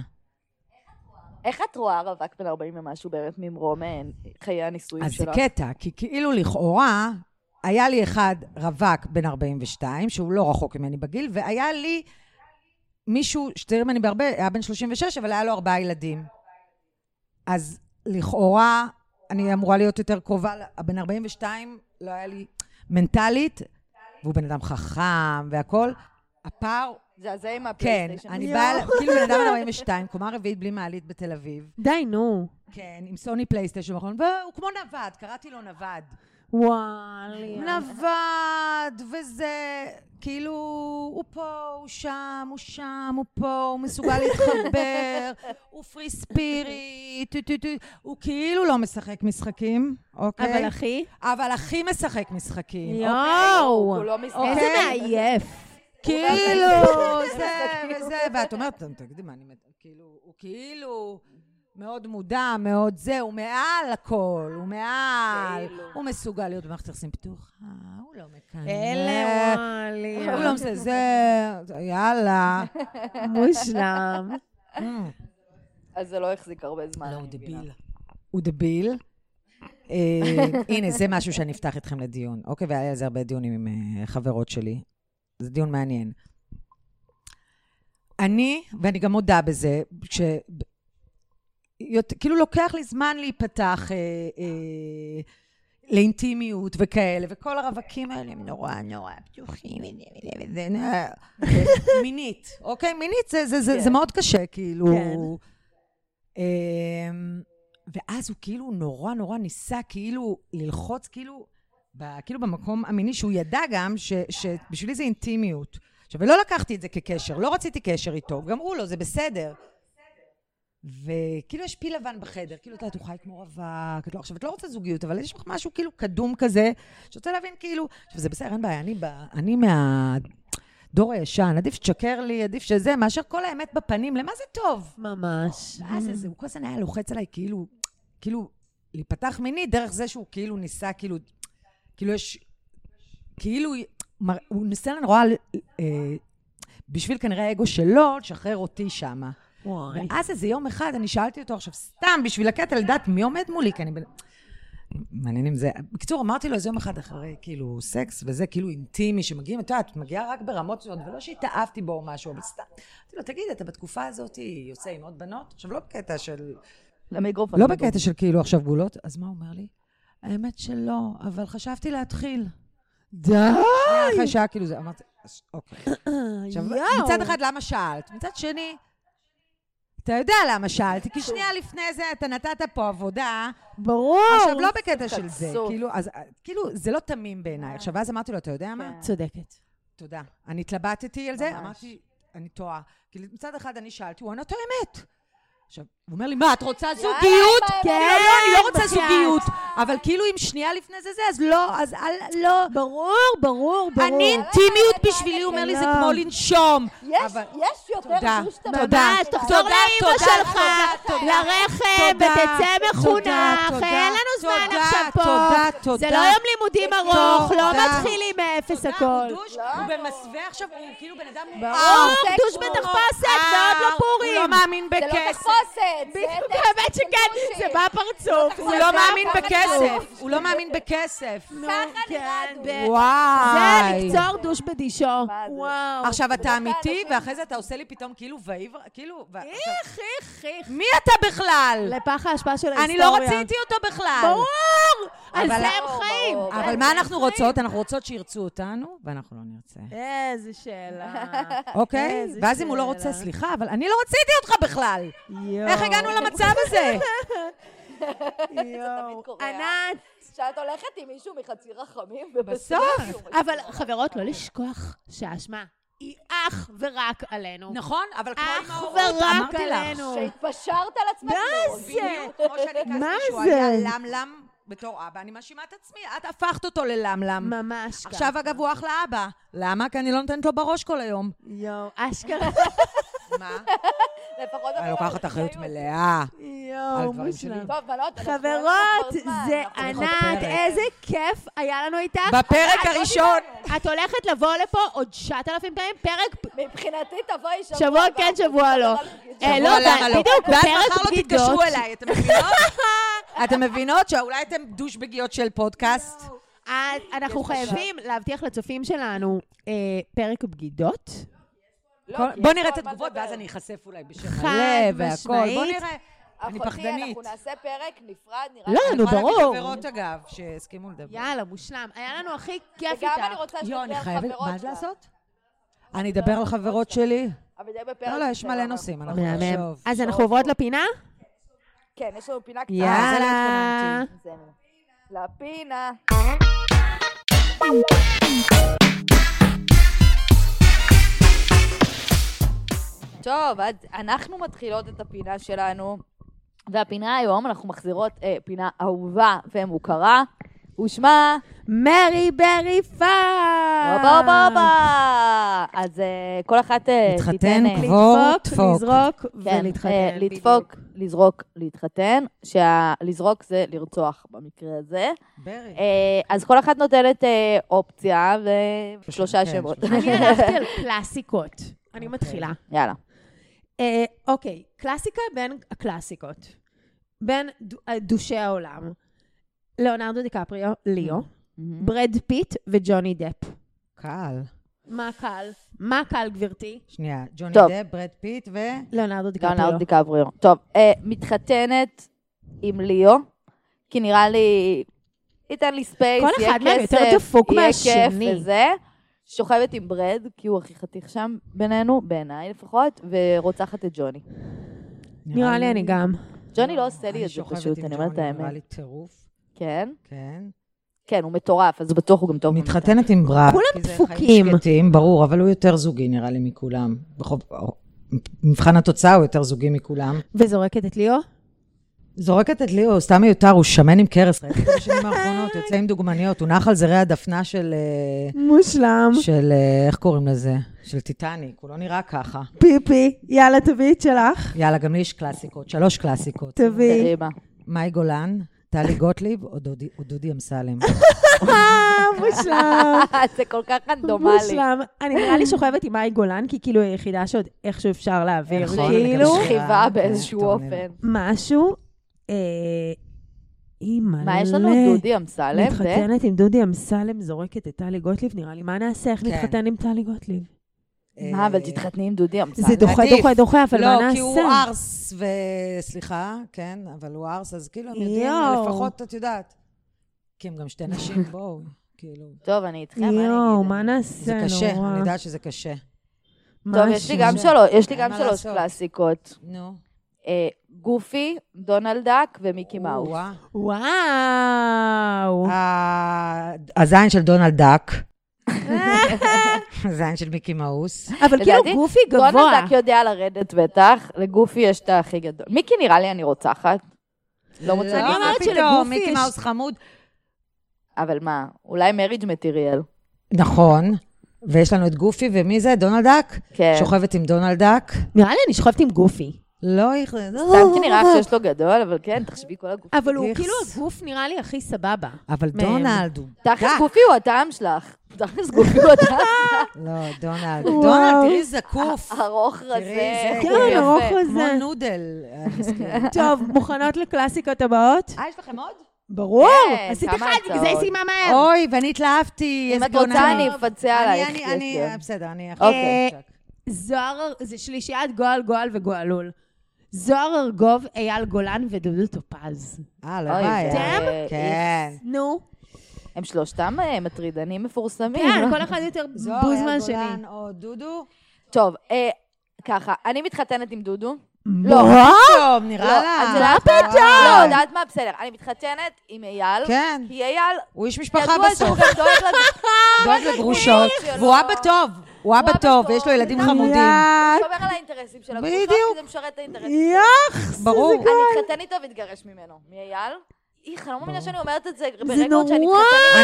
S1: איך את רואה רווק בן 40 ומשהו באמת ממרום אה, חיי הנישואים
S5: אז זה
S1: שלו?
S5: קטע, כי כאילו לכאורה, היה לי אחד רווק בן 42, שהוא לא רחוק ממני בגיל, והיה לי מישהו שצעיר ממני בהרבה, היה בן 36, אבל היה לו ארבעה ילדים. אז לכאורה, אני אמורה להיות יותר קרובה, ל- הבן 42 לא היה לי מנטלית, והוא בן אדם חכם והכול. הפער,
S1: זה הזה עם
S5: כן,
S1: הפלייסטיישן.
S5: אני באה, אל- כאילו בן אדם בן 42, קומה רביעית בלי מעלית בתל אביב.
S4: די, נו.
S5: כן, עם סוני פלייסטיישן, והוא כמו נווד, קראתי לו נווד.
S4: וואלי.
S5: נווד, וזה, כאילו, הוא פה, הוא שם, הוא שם, הוא פה, הוא מסוגל להתחבר, הוא פרי ספיריט, טו, טו, טו. הוא כאילו לא משחק משחקים, אוקיי?
S3: אבל אחי,
S5: אבל הכי משחק משחקים.
S4: יואו!
S6: הוא לא מסתכל.
S4: איזה מעייף.
S5: כאילו, זה וזה, ואת אומרת, תגידי מה, אני מת... כאילו, הוא כאילו מאוד מודע, מאוד זה, הוא מעל הכל, הוא מעל, הוא מסוגל להיות במערכת יחסים פתוחה, הוא לא מקנא.
S4: אלה וואלי.
S5: הוא לא מסוגל, זה, יאללה.
S4: לא-
S5: אה,
S4: מושלם.
S6: אז זה לא החזיק הרבה זמן.
S5: לא, הוא
S6: אני מבינה.
S5: דביל. הוא דביל. אה, הנה, זה משהו שאני אפתח איתכם לדיון. אוקיי, והיה על זה הרבה דיונים עם אה, חברות שלי. זה דיון מעניין. אני, ואני גם מודה בזה, ש... יות- כאילו לוקח לי זמן להיפתח אה, אה, לאינטימיות וכאלה, וכל הרווקים האלה הם נורא נורא פתוחים, וזה וזה וזה, נורא- מינית, אוקיי? מינית זה, זה, זה, זה מאוד קשה, כאילו... אמ, ואז הוא כאילו נורא נורא ניסה כאילו ללחוץ כאילו, ב, כאילו במקום המיני, שהוא ידע גם ש, שבשבילי זה אינטימיות. עכשיו, ולא לקחתי את זה כקשר, לא רציתי קשר איתו, גם הוא לא, זה בסדר. וכאילו יש פיל לבן בחדר, כאילו, את יודעת, הוא חי כמו רווק, את לא, עכשיו, את לא רוצה זוגיות, אבל יש לך משהו כאילו קדום כזה, שרוצה להבין כאילו, עכשיו, זה בסדר, אין בעיה, אני, ב, אני מהדור הישן, עדיף שתשקר לי, עדיף שזה, מאשר כל האמת בפנים, למה זה טוב?
S4: ממש.
S5: ואז איזה, אה, הוא כל הזמן היה לוחץ עליי, כאילו, כאילו, להיפתח מינית דרך זה שהוא כאילו ניסה, כאילו, כאילו יש, כאילו, מר- הוא ניסה נורא, אה, בשביל כנראה האגו שלו, לשחרר אותי שמה.
S4: וואי.
S5: ואז איזה יום אחד, אני שאלתי אותו עכשיו, סתם, בשביל הקטע, לדעת מי עומד מולי, כי אני... בן- מעניין אם זה... בקיצור, אמרתי לו איזה יום אחד אחרי, כאילו, סקס וזה, כאילו אינטימי, שמגיעים, את יודעת, מגיעה רק ברמות שונות, ולא שהתאהבתי בו או משהו, אבל סתם. אמרתי לו, תגיד, אתה בתקופה הזאת יוצא עם עוד בנות? עכשיו, לא בקטע של...
S6: למיקרופון.
S5: לא בקטע של כאילו עכשיו גבולות, אז מה הוא אומר לי? האמת שלא, אבל חשבתי להתחיל.
S4: די!
S5: אחרי שעה כאילו זה, אמרתי, "אז אוקיי. עכשיו,
S4: יואו.
S5: מצד אחד, למה שאלת? מצד שני, אתה יודע למה שאלתי, כי שנייה לפני זה אתה נתת פה עבודה.
S4: ברור!
S5: עכשיו, לא בקטע של זה,
S6: התכנסות.
S5: כאילו, אז, אה, כאילו, זה לא תמים בעיניי. עכשיו, ואז אמרתי לו, אתה יודע מה?
S4: צודקת.
S5: תודה. אני התלבטתי על זה,
S6: ממש.
S5: אמרתי, אני טועה. כאילו, מצד אחד אני שאלתי, הוא ענה את האמת. עכשיו, הוא אומר לי, מה, את רוצה זוגיות?
S6: כן,
S5: לא, לא, אני לא רוצה
S4: בחייאת.
S5: זוגיות. אבל כאילו, אם שנייה לפני זה זה, אז לא, אז אל, לא.
S4: ברור, ברור, ברור.
S5: אני לא אינטימיות בשבילי, הוא אומר לי, זה
S4: לא.
S5: כמו לנשום.
S6: יש,
S5: אבל-
S6: יש יותר
S5: תודה.
S6: גוש
S5: תודה.
S6: תמונה.
S5: תודה.
S4: תחזור לאימא
S5: תודה,
S4: שלך,
S5: תודה,
S4: לרחם,
S5: תודה,
S4: ותצא מחונך.
S5: תודה,
S4: אין לנו זמן
S5: תודה,
S4: עכשיו פה.
S5: תודה, תודה.
S4: זה לא יום לימודים ארוך, לא
S5: תודה.
S4: מתחילים מאפס הכל.
S5: הוא דוש, אה, הוא במסווה עכשיו, הוא כאילו בן אדם...
S4: ברור, אה,
S6: הוא
S4: דוש
S6: הוא-
S4: בתחפושת, ועוד לא פורים.
S5: אה,
S4: לא
S5: הוא לא מאמין
S6: זה לא
S5: בכסף.
S6: תחפושת. זה
S4: בדיוק,
S6: דשא
S4: האמת שכן,
S6: של
S4: זה
S6: גושי.
S4: בפרצוף.
S5: הוא
S4: זה
S5: לא
S4: בא-
S5: מאמין
S6: ככה
S5: בכסף. הוא לא מאמין בכסף.
S6: ככה נראה
S4: כן,
S6: דוש.
S4: ב- זה
S5: וואי.
S4: לקצור דוש בדישו.
S6: מה זה?
S4: וואו.
S5: עכשיו אתה אמיתי,
S6: אנשים-
S5: ואחרי זה אתה עושה לי פתאום כאילו ואיבר, כאילו...
S4: אה.
S5: ו- עכשיו,
S4: איך, איך, איך.
S5: מי אתה בכלל?
S4: לפח האשפה של ההיסטוריה.
S5: אני לא רציתי אותו בכלל.
S4: ברור! על
S5: אבל-
S4: זה הם
S6: ברור,
S4: חיים.
S6: ברור.
S5: אבל מה אנחנו רוצות? אנחנו רוצות שירצו אותנו, ואנחנו לא נרצה.
S4: איזה שאלה.
S5: אוקיי?
S4: אה, איזה
S5: ואז אם הוא לא
S4: שאלה. לא.
S5: רוצה, סליחה, אבל אני לא רציתי אותך בכלל.
S4: יואו.
S5: איך הגענו למצב הזה?
S4: יואו.
S5: אה?
S6: קורה.
S4: ענת,
S6: שאת הולכת עם מישהו מחצי רחמים, ובסוף...
S5: בסוף.
S4: אבל חברות, לא לשכוח שהאשמה היא אך ורק עלינו.
S5: נכון, אבל כמו
S4: אך
S5: עם ההורות,
S4: ורק
S5: אמרתי לך.
S4: עלינו.
S6: שהתפשרת על עצמך.
S4: לא.
S6: כאילו,
S4: מה
S6: מאוד.
S4: זה?
S5: בדיוק, כמו שאני הכנסתי
S4: מה
S5: שהוא
S4: זה?
S5: היה למלם בתור אבא, אני מאשימה את עצמי, את הפכת אותו ללמלם.
S4: ממש ככה.
S5: עכשיו, אגב, הוא אחלה אבא. למה? כי אני לא נותנת לו בראש כל היום.
S4: יואו, אשכרה.
S5: מה?
S6: לפחות...
S5: אני
S6: אתה
S5: אה, לוקחת
S6: לוקח
S5: אחריות מלאה.
S4: לא,
S5: על
S4: יואו,
S5: דברים שלי.
S4: מושלם.
S6: טוב, לא, בנות, אנחנו
S4: חברות,
S6: כבר זמן,
S4: זה
S6: אנחנו-
S4: ענת, איזה כיף היה לנו איתך.
S5: בפרק
S4: את לא
S5: הראשון...
S4: את הולכת לבוא לפה עוד 9,000 פעמים, פרק פ-
S6: מבחינתי תבואי שבוע...
S4: שבוע
S6: הבא,
S4: כן,
S6: אנחנו
S4: שבוע לא.
S6: נדבר על פגישות.
S4: אה, לא,
S5: שבוע למה לא?
S4: בדיוק,
S5: ואז
S4: בפרק
S5: מחר לא
S4: בגידות.
S5: תתקשרו אליי, אתם מבינות? אתם מבינות שאולי אתם דושבגיות של פודקאסט?
S4: אה, אנחנו חייבים להבטיח לצופים שלנו אה, פרק בגידות.
S6: לא,
S5: כל-
S6: כי
S5: בוא
S6: יש
S5: נראה את
S6: כל מה
S5: התגובות,
S6: לדבר.
S5: ואז אני אחשף אולי בשם
S4: חד
S5: הלב והכל. בוא
S4: משמעית.
S5: נראה. אני
S6: אחותי,
S5: פחדנית.
S6: אנחנו נעשה פרק נפרד, נראה
S4: לא,
S6: לי.
S4: נו,
S5: אני יכולה
S4: ברור.
S5: להגיד חברות, אגב, שהסכימו לדבר.
S4: יאללה, מושלם. היה לנו הכי כיף איתך.
S6: וגם אני רוצה
S5: יואו, אני
S6: שתדבר
S5: חייבת,
S6: חברות
S5: מה זה
S6: שלה.
S5: לעשות? אני אדבר על חברות
S1: אוקיי.
S5: שלי?
S6: אבל זה בפרק...
S5: לא, לא, יש
S6: שלנו,
S5: מלא
S6: אנחנו-
S5: נושאים, אנחנו
S4: מהמם.
S5: נחשוב.
S4: אז אנחנו עוברות לפינה?
S6: כן, יש לנו פינה קצרה.
S5: יאללה.
S6: זה-
S1: לפינה. טוב, אז אנחנו מתחילות את הפינה שלנו, והפינה היום, אנחנו מחזירות אה, פינה אהובה ומוכרה, ושמה
S4: מרי ברי
S5: אה.
S4: פאק!
S1: בובה בובה. אז אה, כל אחת אה,
S5: להתחתן,
S1: תיתן... אה,
S5: כבר. לעבור,
S4: לדפוק,
S5: דפוק.
S4: לזרוק
S1: כן,
S4: ולהתחתן.
S1: אה, לדפוק, לזרוק, להתחתן, שלזרוק זה לרצוח במקרה הזה.
S5: ברי.
S1: אה, אז כל אחת נותנת אה, אופציה ושלושה
S5: כן,
S1: שמות.
S5: שלושה.
S4: אני הלכתי על קלאסיקות. אני מתחילה.
S1: יאללה.
S5: Mm-hmm.
S4: אה, אוקיי, קלאסיקה בין הקלאסיקות. בין דו- אה, דושי העולם. ליאונרדו דיקפריו, ליאו, ברד פיט וג'וני דפ.
S5: קל.
S4: מה קל? מה קל, גברתי?
S5: שנייה, ג'וני
S1: טוב.
S5: דב, ברד פיט ו...
S4: ליאונרדו דיקפריו.
S1: ליאונרד דיקבריו. טוב, אה, מתחתנת עם ליאו, כי נראה לי... ייתן לי ספייס,
S4: כל
S1: יהיה
S4: אחד מהם
S1: כסף,
S4: יותר דפוק
S1: יהיה
S4: מהשני.
S1: כיף וזה. שוכבת עם ברד, כי הוא הכי חתיך שם בינינו, בעיניי לפחות, ורוצחת את ג'וני.
S4: נראה לי אני גם.
S1: ג'וני לא עושה לי
S5: אני
S1: את זה
S5: שוכבת
S1: פשוט,
S5: עם
S1: אני אומרת את
S5: ג'וני, נראה
S1: האמת.
S5: לי טירוף,
S1: כן?
S5: כן.
S1: כן, הוא מטורף, אז בטוח הוא גם טוב. במיטה.
S5: מתחתנת עם ברק.
S4: כולם
S5: כי זה
S4: דפוקים.
S5: חיים שקטים, ברור, אבל הוא יותר זוגי נראה לי מכולם. בחוב- מבחן התוצאה הוא יותר זוגי מכולם.
S4: וזורקת את ליאו?
S5: זורקת את ליאו, הוא סתם מיותר, הוא שמן עם קרס, ראיתי את זה בשנים האחרונות, יוצא עם דוגמניות, הוא נח על זרי הדפנה של, אה,
S8: מושלם.
S5: של, אה, איך קוראים לזה? של טיטניק, הוא לא נראה ככה.
S8: פיפי, יאללה, תביאי את שלך.
S5: יאללה, גם לי יש קלאסיקות, שלוש קלאסיקות.
S8: תביאי.
S5: מאי גולן, טלי גוטליב או דודי- או דודי אמסלם.
S4: אה, מושלם.
S1: זה כל כך רנדומלי.
S4: מושלם. אני נראה לי שוכבת עם מאי גולן, כי כאילו היא היחידה שעוד איכשהו אפשר להעביר.
S5: נכון,
S4: כאילו,
S5: אני גם
S1: שכיבה
S5: כן,
S1: באיזשהו
S5: טוב, אני-
S1: אופן.
S4: משהו, אה, אימא'לה.
S1: מה יש לנו? דודי אה? אמסלם? ו-
S4: מתחתנת עם דודי אמסלם, זורקת את טלי גוטליב, נראה לי. מה נעשה? איך
S5: כן.
S4: נתחתן עם טלי גוטליב?
S1: אה, אבל תתחתני עם דודי אמסלם.
S4: זה דוחה,
S5: עדיף.
S4: דוחה, דוחה, אבל מה נעשה?
S5: לא, כי הוא ארס, ו... סליחה, כן, אבל הוא ארס, אז כאילו, הם יודעים,
S4: יואו.
S5: לפחות, את יודעת. כי הם גם שתי נשים, בואו, כאילו.
S1: טוב, אני איתכם, מה אני
S4: יואו,
S1: אגיד?
S4: מה נעשה?
S5: זה קשה,
S4: נורא.
S5: אני יודעת שזה קשה.
S1: טוב,
S4: משהו.
S1: יש לי גם שלוש, יש לי
S5: אין
S1: גם
S5: מה
S1: שלוש
S5: לעשות.
S1: קלאסיקות.
S5: נו.
S1: אה, גופי, דונלד דאק ומיקי מאוס.
S5: וואה.
S4: וואו.
S5: ה- הזין של דונלד דאק. הזין של מיקי מאוס.
S4: אבל כאילו
S1: לדעתי,
S4: גופי גבוה.
S1: דונלד דאק יודע לרדת בטח, לגופי יש את הכי גדול. מיקי נראה לי אני רוצחת. לא מוצא לי
S5: מה
S1: זה.
S4: אומרת שלגופי
S5: פתאום, מיקי
S4: יש-
S5: מאוס חמוד.
S1: אבל מה, אולי מריג' מטיריאל.
S5: נכון. ויש לנו את גופי, ומי זה? דונלד דאק?
S1: כן.
S5: שוכבת עם דונלד דאק?
S4: נראה לי אני שוכבת עם גופי.
S5: לא, איך זה...
S1: סתם כי נראה לך שיש לו גדול, אבל כן, תחשבי כל הגופי.
S4: אבל הוא
S5: איכס.
S4: כאילו הגוף נראה לי הכי סבבה.
S5: אבל
S4: מהם.
S5: דונלד הוא
S1: תכלס גופי הוא הטעם שלך. תכלס גופי הוא הטעם שלך.
S5: לא, דונלד. דונלד, תראי זקוף.
S1: ארוך
S5: תראי,
S1: רזה. הוא
S5: זה-
S4: כן,
S1: יפה.
S4: ארוך
S5: כמו
S4: רזה.
S5: נודל. אה, מסכן.
S4: טוב, מוכנות לקלאסיקות הבאות?
S5: אה, יש לכם עוד?
S4: ברור.
S1: כן,
S4: עשית
S1: כמה
S4: אחד,
S1: הצעות.
S4: זה סיימה מהר.
S5: כן. אוי, ואני התלהבתי.
S1: אם
S5: איזה
S1: את רוצה,
S5: גאונה.
S1: אני אפצה עלייך.
S5: אני,
S1: יש
S5: אני,
S1: לי.
S5: אה, בסדר, אני אה, אחרי.
S1: אוקיי.
S5: צ'ק.
S4: זוהר, זה שלישיית גועל גועל וגועלול. זוהר ארגוב, אייל גולן ודודו טופז.
S5: אה, לא
S1: אוי,
S5: בעיה.
S1: אתם?
S5: כן.
S4: נו.
S1: הם שלושתם אה, מטרידנים מפורסמים. לא?
S4: כן, כל אחד יותר
S5: זוהר,
S4: בוז
S5: אייל
S4: מהשני.
S5: גולן או דודו?
S1: טוב, אה, ככה, אני מתחתנת עם דודו.
S4: מה?
S1: לא.
S5: טוב, נראה
S1: את
S5: לה.
S1: יודעת מה פתאום? לא, יודעת מה? בסדר. אני מתחתנת עם אייל.
S5: כן.
S1: כי אייל,
S5: הוא איש משפחה
S1: ידוע שהוא
S5: בסוף.
S1: גם דואג לזה,
S5: דואג לגרושות.
S1: שלו.
S5: והוא אבא טוב. הוא אבא
S1: אבא
S5: טוב,
S1: טוב.
S5: ויש לו ילדים
S1: יואו.
S5: חמודים.
S1: הוא שומר על האינטרסים שלו.
S5: בדיוק.
S1: בדיוק. זה משרת את האינטרסים. שלו.
S5: ברור.
S1: אני אתחתן איתו ואתגרש ממנו. מאייל? איך, אני לא מאמינה שאני אומרת את זה ברגע עוד שאני
S4: נורא.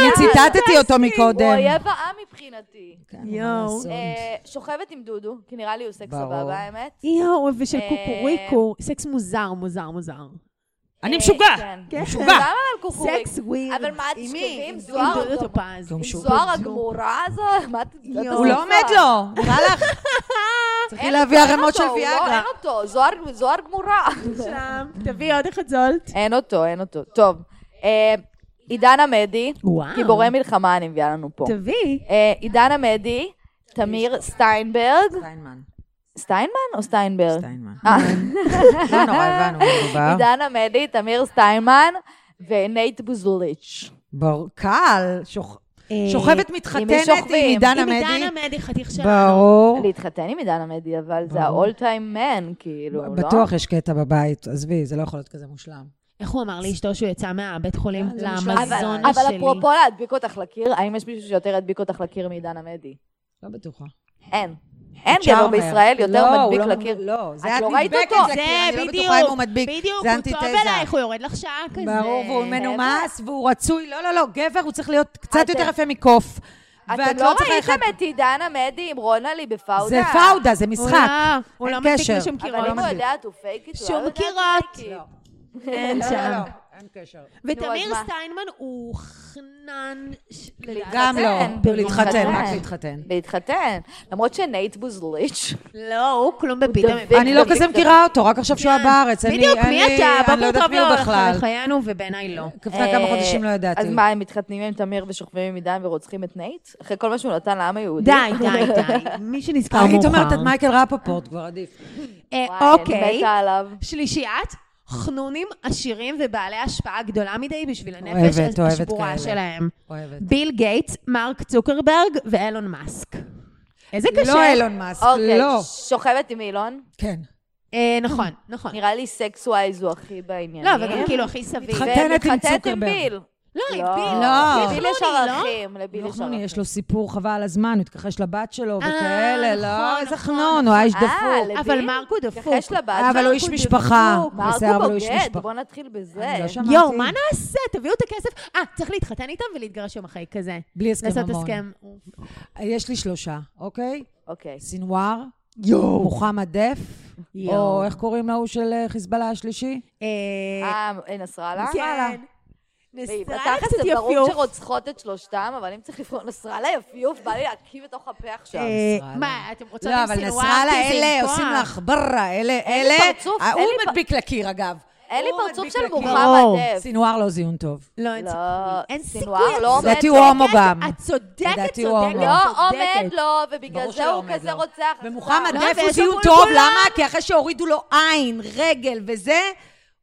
S1: מתחתנת.
S5: אני ציטטתי אותו
S1: הוא
S5: מקודם.
S1: אויב העם מבחינתי.
S5: כן, מה
S4: יואו.
S5: לעשות?
S1: אה, שוכבת עם דודו, כי נראה לי הוא סקס
S5: ברור.
S1: סבבה, האמת.
S4: יואו, ושל
S1: אה,
S4: קוקוריקו. סקס מוזר, מוזר, מוזר.
S5: אני
S1: אה,
S5: משוגע.
S1: כן.
S4: כן.
S1: למה על קוקורי?
S4: סקס ווירד.
S1: אבל מה,
S5: עם מי?
S1: תשכבי עם
S4: עם
S1: זוהר
S4: דודו
S1: הגמור-
S4: טופז.
S5: גם
S1: עם
S5: שהוא-
S1: זוהר הגמורה הזו? מה את- את
S4: יואו.
S1: עושה?
S5: הוא לא עומד לו. נראה לך? צריכי
S1: אין
S5: להביא
S1: אותו, אין
S5: ערימות
S1: אותו,
S5: של
S1: הוא לא-
S5: ויאגרה.
S1: אין אותו, זוהר- זוהר גמורה.
S4: שם, תביא עוד אחד זולט.
S1: אין אותו, אין אותו. טוב, אה, עידן עמדי,
S4: וואו.
S1: גיבורי מלחמה אני מביאה לנו פה.
S4: תביא.
S1: אה, עידן עמדי, תמיר סטיינברג,
S5: סטיינמן.
S1: סטיינמן או סטיינברג?
S5: סטיינמן.
S1: אה,
S5: לא נורא, הבנו מה מדובר.
S1: עידן עמדי, תמיר סטיינמן ונייט בוזוליץ'.
S5: בר- קל. שוכ-
S4: אה,
S5: שוכבת
S1: עם
S5: מתחתנת
S1: מי שוכבים?
S5: עם עידן
S4: עם
S5: עמדי.
S4: עידן עמדי חתיך שלנו.
S5: ברור.
S1: להתחתן עם עידן עמדי, אבל זה ה-all time man, כאילו, לא?
S5: בטוח יש קטע בבית, עזבי, זה לא יכול להיות כזה מושלם.
S4: איך הוא אמר לאשתו שהוא יצא מהבית חולים?
S5: כן, זה מה
S4: לאמזונה
S5: שלא-
S1: אבל,
S4: שלי.
S1: אבל אפרופו להדביק אותך לקיר, האם יש מישהו שיותר ידביק אותך לקיר מעידן עמדי?
S5: לא בטוחה.
S1: אין. אין גבר
S5: צ'ארמר.
S1: בישראל יותר
S5: לא, הוא
S1: מדביק
S5: לא-
S1: לקיר.
S5: לא, זה
S1: את
S5: את
S1: לא ראית
S5: נדבקת
S1: אותו?
S5: לקיר,
S4: זה
S5: אני לא
S4: בדיוק,
S5: בטוחה אם הוא מדביק.
S4: בדיוק,
S5: זה
S4: הוא טוב
S5: אנטיתזה.
S4: אלייך, הוא יורד לך שעה כזה.
S5: ברור, והוא מנומס, והוא רצוי. לא, לא, לא, גבר, הוא צריך להיות קצת
S1: אתם-
S5: יותר יפה מקוף.
S1: אתם
S5: ואת
S1: לא
S5: צריכה אחד-
S1: ראיתם את עידן עמדי עם רונלי בפאודה?
S5: זה פאודה, זה
S4: הוא
S5: משחק.
S4: לא- הוא
S5: אין
S4: לא מדביק
S5: קשר.
S4: נשים
S1: אבל אם
S4: קירות.
S1: הוא
S5: מדביק.
S1: יודע, הוא פייק איתו.
S4: שום מכירות. אין
S5: לא,
S4: שם.
S5: לא, לא, אין קשר.
S1: נו,
S4: ותמיר
S1: אז מה?
S4: סטיינמן הוא חנן... ש- לדעתי.
S5: גם לא.
S1: להתחתן.
S4: כן.
S5: להתחתן, רק
S1: להתחתן.
S5: להתחתן.
S1: להתחתן. למרות שנייט בוזליץ',
S4: לא, הוא כלום בפיתה.
S1: דבק
S5: אני לא כזה מכירה אותו, רק עכשיו שהוא היה בארץ. אני-
S4: כן. בדיוק, מי
S5: אני-
S4: אתה?
S5: אני לא
S4: בוקר
S5: יודעת
S4: טוב
S5: מי הוא
S4: לו
S5: בכלל.
S4: לחיינו, ובעיניי לא.
S5: לפני כמה
S1: אה,
S5: חודשים לא ידעתי.
S1: אז מה, הם מתחתנים עם תמיר ושוכבים עם עידן ורוצחים את נייט? אחרי כל מה שהוא נתן לעם היהודי?
S4: די, די, די. מי שנזכר מאוחר.
S5: אה, היית אומרת את מייקל רפפורט, כבר עדיף.
S4: אה,
S1: וואי, אני
S4: אוקיי.
S1: מתה עליו.
S4: שלישיית חנונים עשירים ובעלי השפעה גדולה מדי בשביל הנפש
S5: אוהבת, אוהבת
S4: השבורה
S5: כאלה.
S4: שלהם.
S5: אוהבת.
S4: ביל גייטס, מרק צוקרברג ואילון מאסק. איזה קשה.
S5: לא אילון מאסק,
S1: אוקיי,
S5: לא.
S1: שוכבת עם אילון?
S5: כן.
S4: אה, נכון, נכון.
S1: נראה לי סקס ווייז הוא הכי בעניינים.
S4: לא, וגם כאילו הכי סביר.
S5: מתחתן. מתחתנת עם
S1: ומתחתנת עם
S5: צוקרברג.
S1: ביל.
S4: לא, עם
S1: לא.
S4: ביל.
S5: לא.
S4: ביל
S1: לביל יש
S4: חנוני, לא?
S1: ערכים, לביל יש
S5: וחנוני,
S1: ערכים.
S5: יש לו סיפור חבל על הזמן, הוא התכחש לבת שלו
S4: אה,
S5: וכאלה,
S4: נכון,
S5: לא, איזה
S4: נכון,
S5: חנון, הוא האיש
S1: אה,
S5: דפוק.
S1: לביל?
S4: אבל מרק הוא דפוק.
S1: מתכחש לבת.
S5: אבל הוא
S1: מרק
S5: איש
S1: דפוק.
S5: משפחה.
S1: מרק
S5: בסדר,
S1: הוא
S5: אבל הוא איש
S1: בוגד,
S5: משפחה.
S1: בוא נתחיל בזה.
S5: אני לא שמעתי.
S4: יואו, מה נעשה? תביאו את הכסף. אה, צריך להתחתן איתם ולהתגרש יום אחרי כזה.
S5: בלי הסכם
S4: לעשות
S5: ממון.
S4: הסכם.
S5: אה, יש לי שלושה, אוקיי?
S1: אוקיי.
S5: סינואר, מוחמד דף, או איך קוראים להוא של אה, חיזבאללה השלישי?
S4: אה,
S1: אה, נסראללה?
S4: כן. נסראללה
S1: בתכלס
S4: קצת
S1: זה ברור
S4: יפיוף.
S1: שרוצחות את שלושתם, אבל אם צריך לבחור נסראללה יפיוף, בא לי להקיא בתוך הפה עכשיו.
S4: אה,
S5: נסראללה.
S4: מה, אתם רוצות
S5: לא,
S4: עם
S5: אבל
S4: סילואר?
S5: נסראללה,
S4: כי זה עם
S5: אלה
S4: כוח.
S5: עושים לך בררה, אלה,
S1: אין לי
S5: אלה...
S1: פרצוף,
S5: אה,
S1: אין
S5: הוא
S1: לי פ-
S5: מדביק לקיר, אגב.
S1: אין לי
S5: הוא
S1: פרצוף
S5: מדביק
S1: של
S5: לקיר.
S1: מוחמד דף.
S5: סינואר לא זיון טוב.
S4: לא, אין
S1: לא,
S4: סיכוי. אין סיכוי.
S1: סינואר לא עומד.
S4: את
S5: לדעתי
S4: צודקת,
S5: הוא הומו גם.
S4: את צודקת, צודקת,
S5: לדעתי הוא הומו.
S4: צודקת.
S1: לא עומד לו, ובגלל
S5: ברור
S1: זה
S5: שלא
S1: הוא
S5: עומד
S1: כזה
S5: לו.
S1: רוצח.
S5: ומוחמד
S4: לא,
S5: דף הוא
S4: ויש
S5: זיון
S4: המון
S5: טוב,
S4: כולם.
S5: למה? כי אחרי שהורידו לו עין, רגל וזה,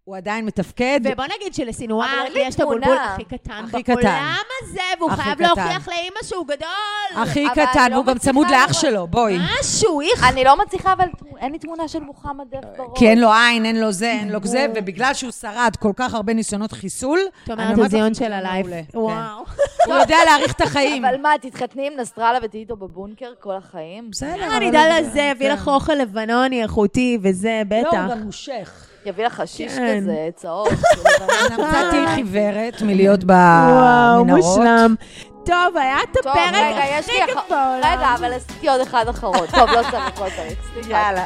S5: הוא עדיין מתפקד.
S4: ובוא נגיד
S1: אבל
S4: שלסינואר
S1: אין לי
S4: יש את הבולבול
S1: תמונה.
S4: הכי קטן
S5: הכי קטן.
S4: בעולם הזה, והוא
S5: הכי
S4: חייב
S5: קטן.
S4: להוכיח לאימא שהוא גדול.
S5: הכי
S1: אבל
S5: קטן,
S1: אני לא
S5: והוא גם צמוד
S1: מצליחה אה,
S5: לאח שלו, בואי.
S4: משהו, איך...
S1: אני לא מצליחה, אבל תמו- אין לי תמונה של מוחמד דף בראש.
S5: כי אין לו עין, אין לו זה, אין לו זה, ובגלל שהוא שרד כל כך הרבה ניסיונות חיסול,
S4: את
S5: אני
S4: אומרת,
S5: אומרת
S4: זה זיון
S5: לך,
S4: של הלייב.
S5: מעולה. כן.
S4: וואו.
S5: הוא יודע להעריך את החיים.
S1: אבל מה, תתחתני עם נסראללה ותהיי איתו בבונקר כל החיים?
S5: בסדר.
S4: אני
S5: אבל
S4: אדע
S5: הוא-
S4: לזה, הביא לך אוכל לבנוני איכותי וזה,
S5: לא, הוא
S4: בטח.
S5: גם מושך.
S1: יביא לך חשיש
S4: כן.
S1: כזה, צהוב.
S5: נמצאתי חיוורת מלהיות במנהרות.
S4: אה. וואו, מושלם. טוב, היה את
S1: טוב,
S4: הפרק
S1: רגע, יש
S4: הכי
S1: לי...
S4: כיף
S1: אח-
S4: בעולם.
S1: רגע, אבל עשיתי עוד אחד אחרון. טוב, לא צריך, לא צריך. סליחה.
S5: יאללה.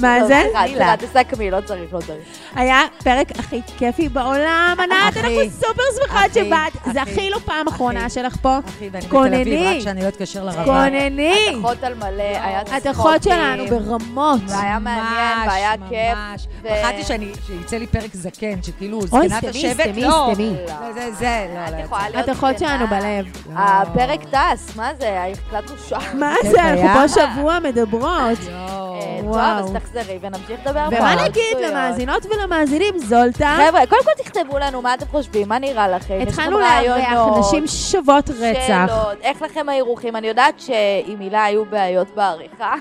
S4: מה
S1: טוב,
S4: זה?
S1: סליחה,
S4: מילה.
S1: סליחה, תסכמי, לא צריך, לא צריך.
S4: היה הפרק הכי כיפי בעולם, ענת,
S5: הכי,
S4: אנחנו סופר שמחות
S5: הכי,
S4: שבאת. זה
S5: הכי,
S4: הכי לא פעם אחרונה
S5: הכי.
S4: שלך פה.
S5: אחי, ואני בתל אביב,
S4: כונני,
S5: רק שאני לא אתקשר לרבה.
S4: כונני.
S1: אחות על מלא, היה
S4: לא, את אחות שלנו ברמות.
S1: והיה מעניין,
S5: ממש,
S1: והיה כיף.
S5: ממש.
S1: ו-
S5: פחדתי שאני- שיצא לי פרק זקן, שכאילו
S4: אוי,
S5: זקנת
S4: סתמי,
S5: השבט,
S4: סתמי,
S5: לא.
S4: סתמי.
S5: לא, זה, זה, לא, לא.
S1: את
S5: יצא.
S1: יכולה להיות
S4: את אחות
S1: זקנה.
S4: שלנו בלב.
S1: הפרק טס, מה זה? הקלטנו שעה.
S4: מה
S5: כיף
S4: זה, אנחנו
S5: היה.
S4: פה שבוע מדברות.
S5: יואו.
S1: אה, טוב,
S4: וואו.
S1: אז תחזרי ונמשיך לדבר פה.
S4: ומה
S1: על
S4: נגיד
S1: שטויות.
S4: למאזינות ולמאזינים, זולטה?
S1: חבר'ה, קודם כל תכתבו לנו מה אתם חושבים, מה נראה לכם. יש לכם
S4: התחלנו לארח
S1: רעיונות,
S4: נשים שוות רצח.
S1: שאלות, איך לכם האירוחים? אני יודעת שעם הילה היו בעיות בעריכה.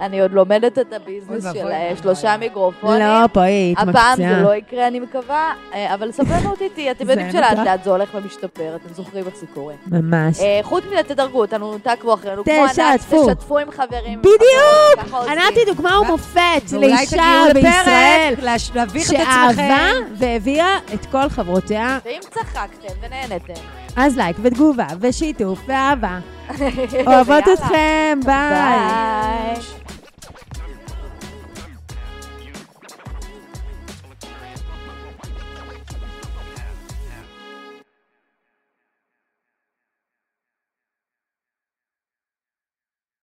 S1: אני עוד לומדת את הביזנס
S5: אוי ואבוי,
S1: של אה,
S5: אוי
S1: שלושה
S5: ואבוי.
S1: מיקרופונים.
S4: לא, פה היא התמקצעה.
S1: הפעם זה לא יקרה, אני מקווה, אה, אבל סבלנות איתי, אתם
S4: זה
S1: יודעים
S4: נכון.
S1: שלאט לאט זה הולך ומשתפר, אתם זוכרים איך זה קורה.
S4: ממש.
S1: אה, חוץ מזה, תדרגו אותנו, תעקבו אחרינו, כמו ענת,
S4: תשתפו.
S1: תשתפו עם חברים.
S4: בדיוק!
S1: ככה עושים.
S4: ענת היא דוגמה ומופת
S5: ואולי
S4: לאישה
S5: תגיעו
S4: בישראל,
S5: לפרק, להש- להביך את
S4: שאהבה
S5: עצמכם.
S4: והביאה את כל חברותיה,
S1: ואם צחקתם ונהנתם,
S4: אז לייק ותגובה ושיתוף ואהבה.
S1: יאללה.
S4: אוהבות אתכם, ביי.
S1: ביי.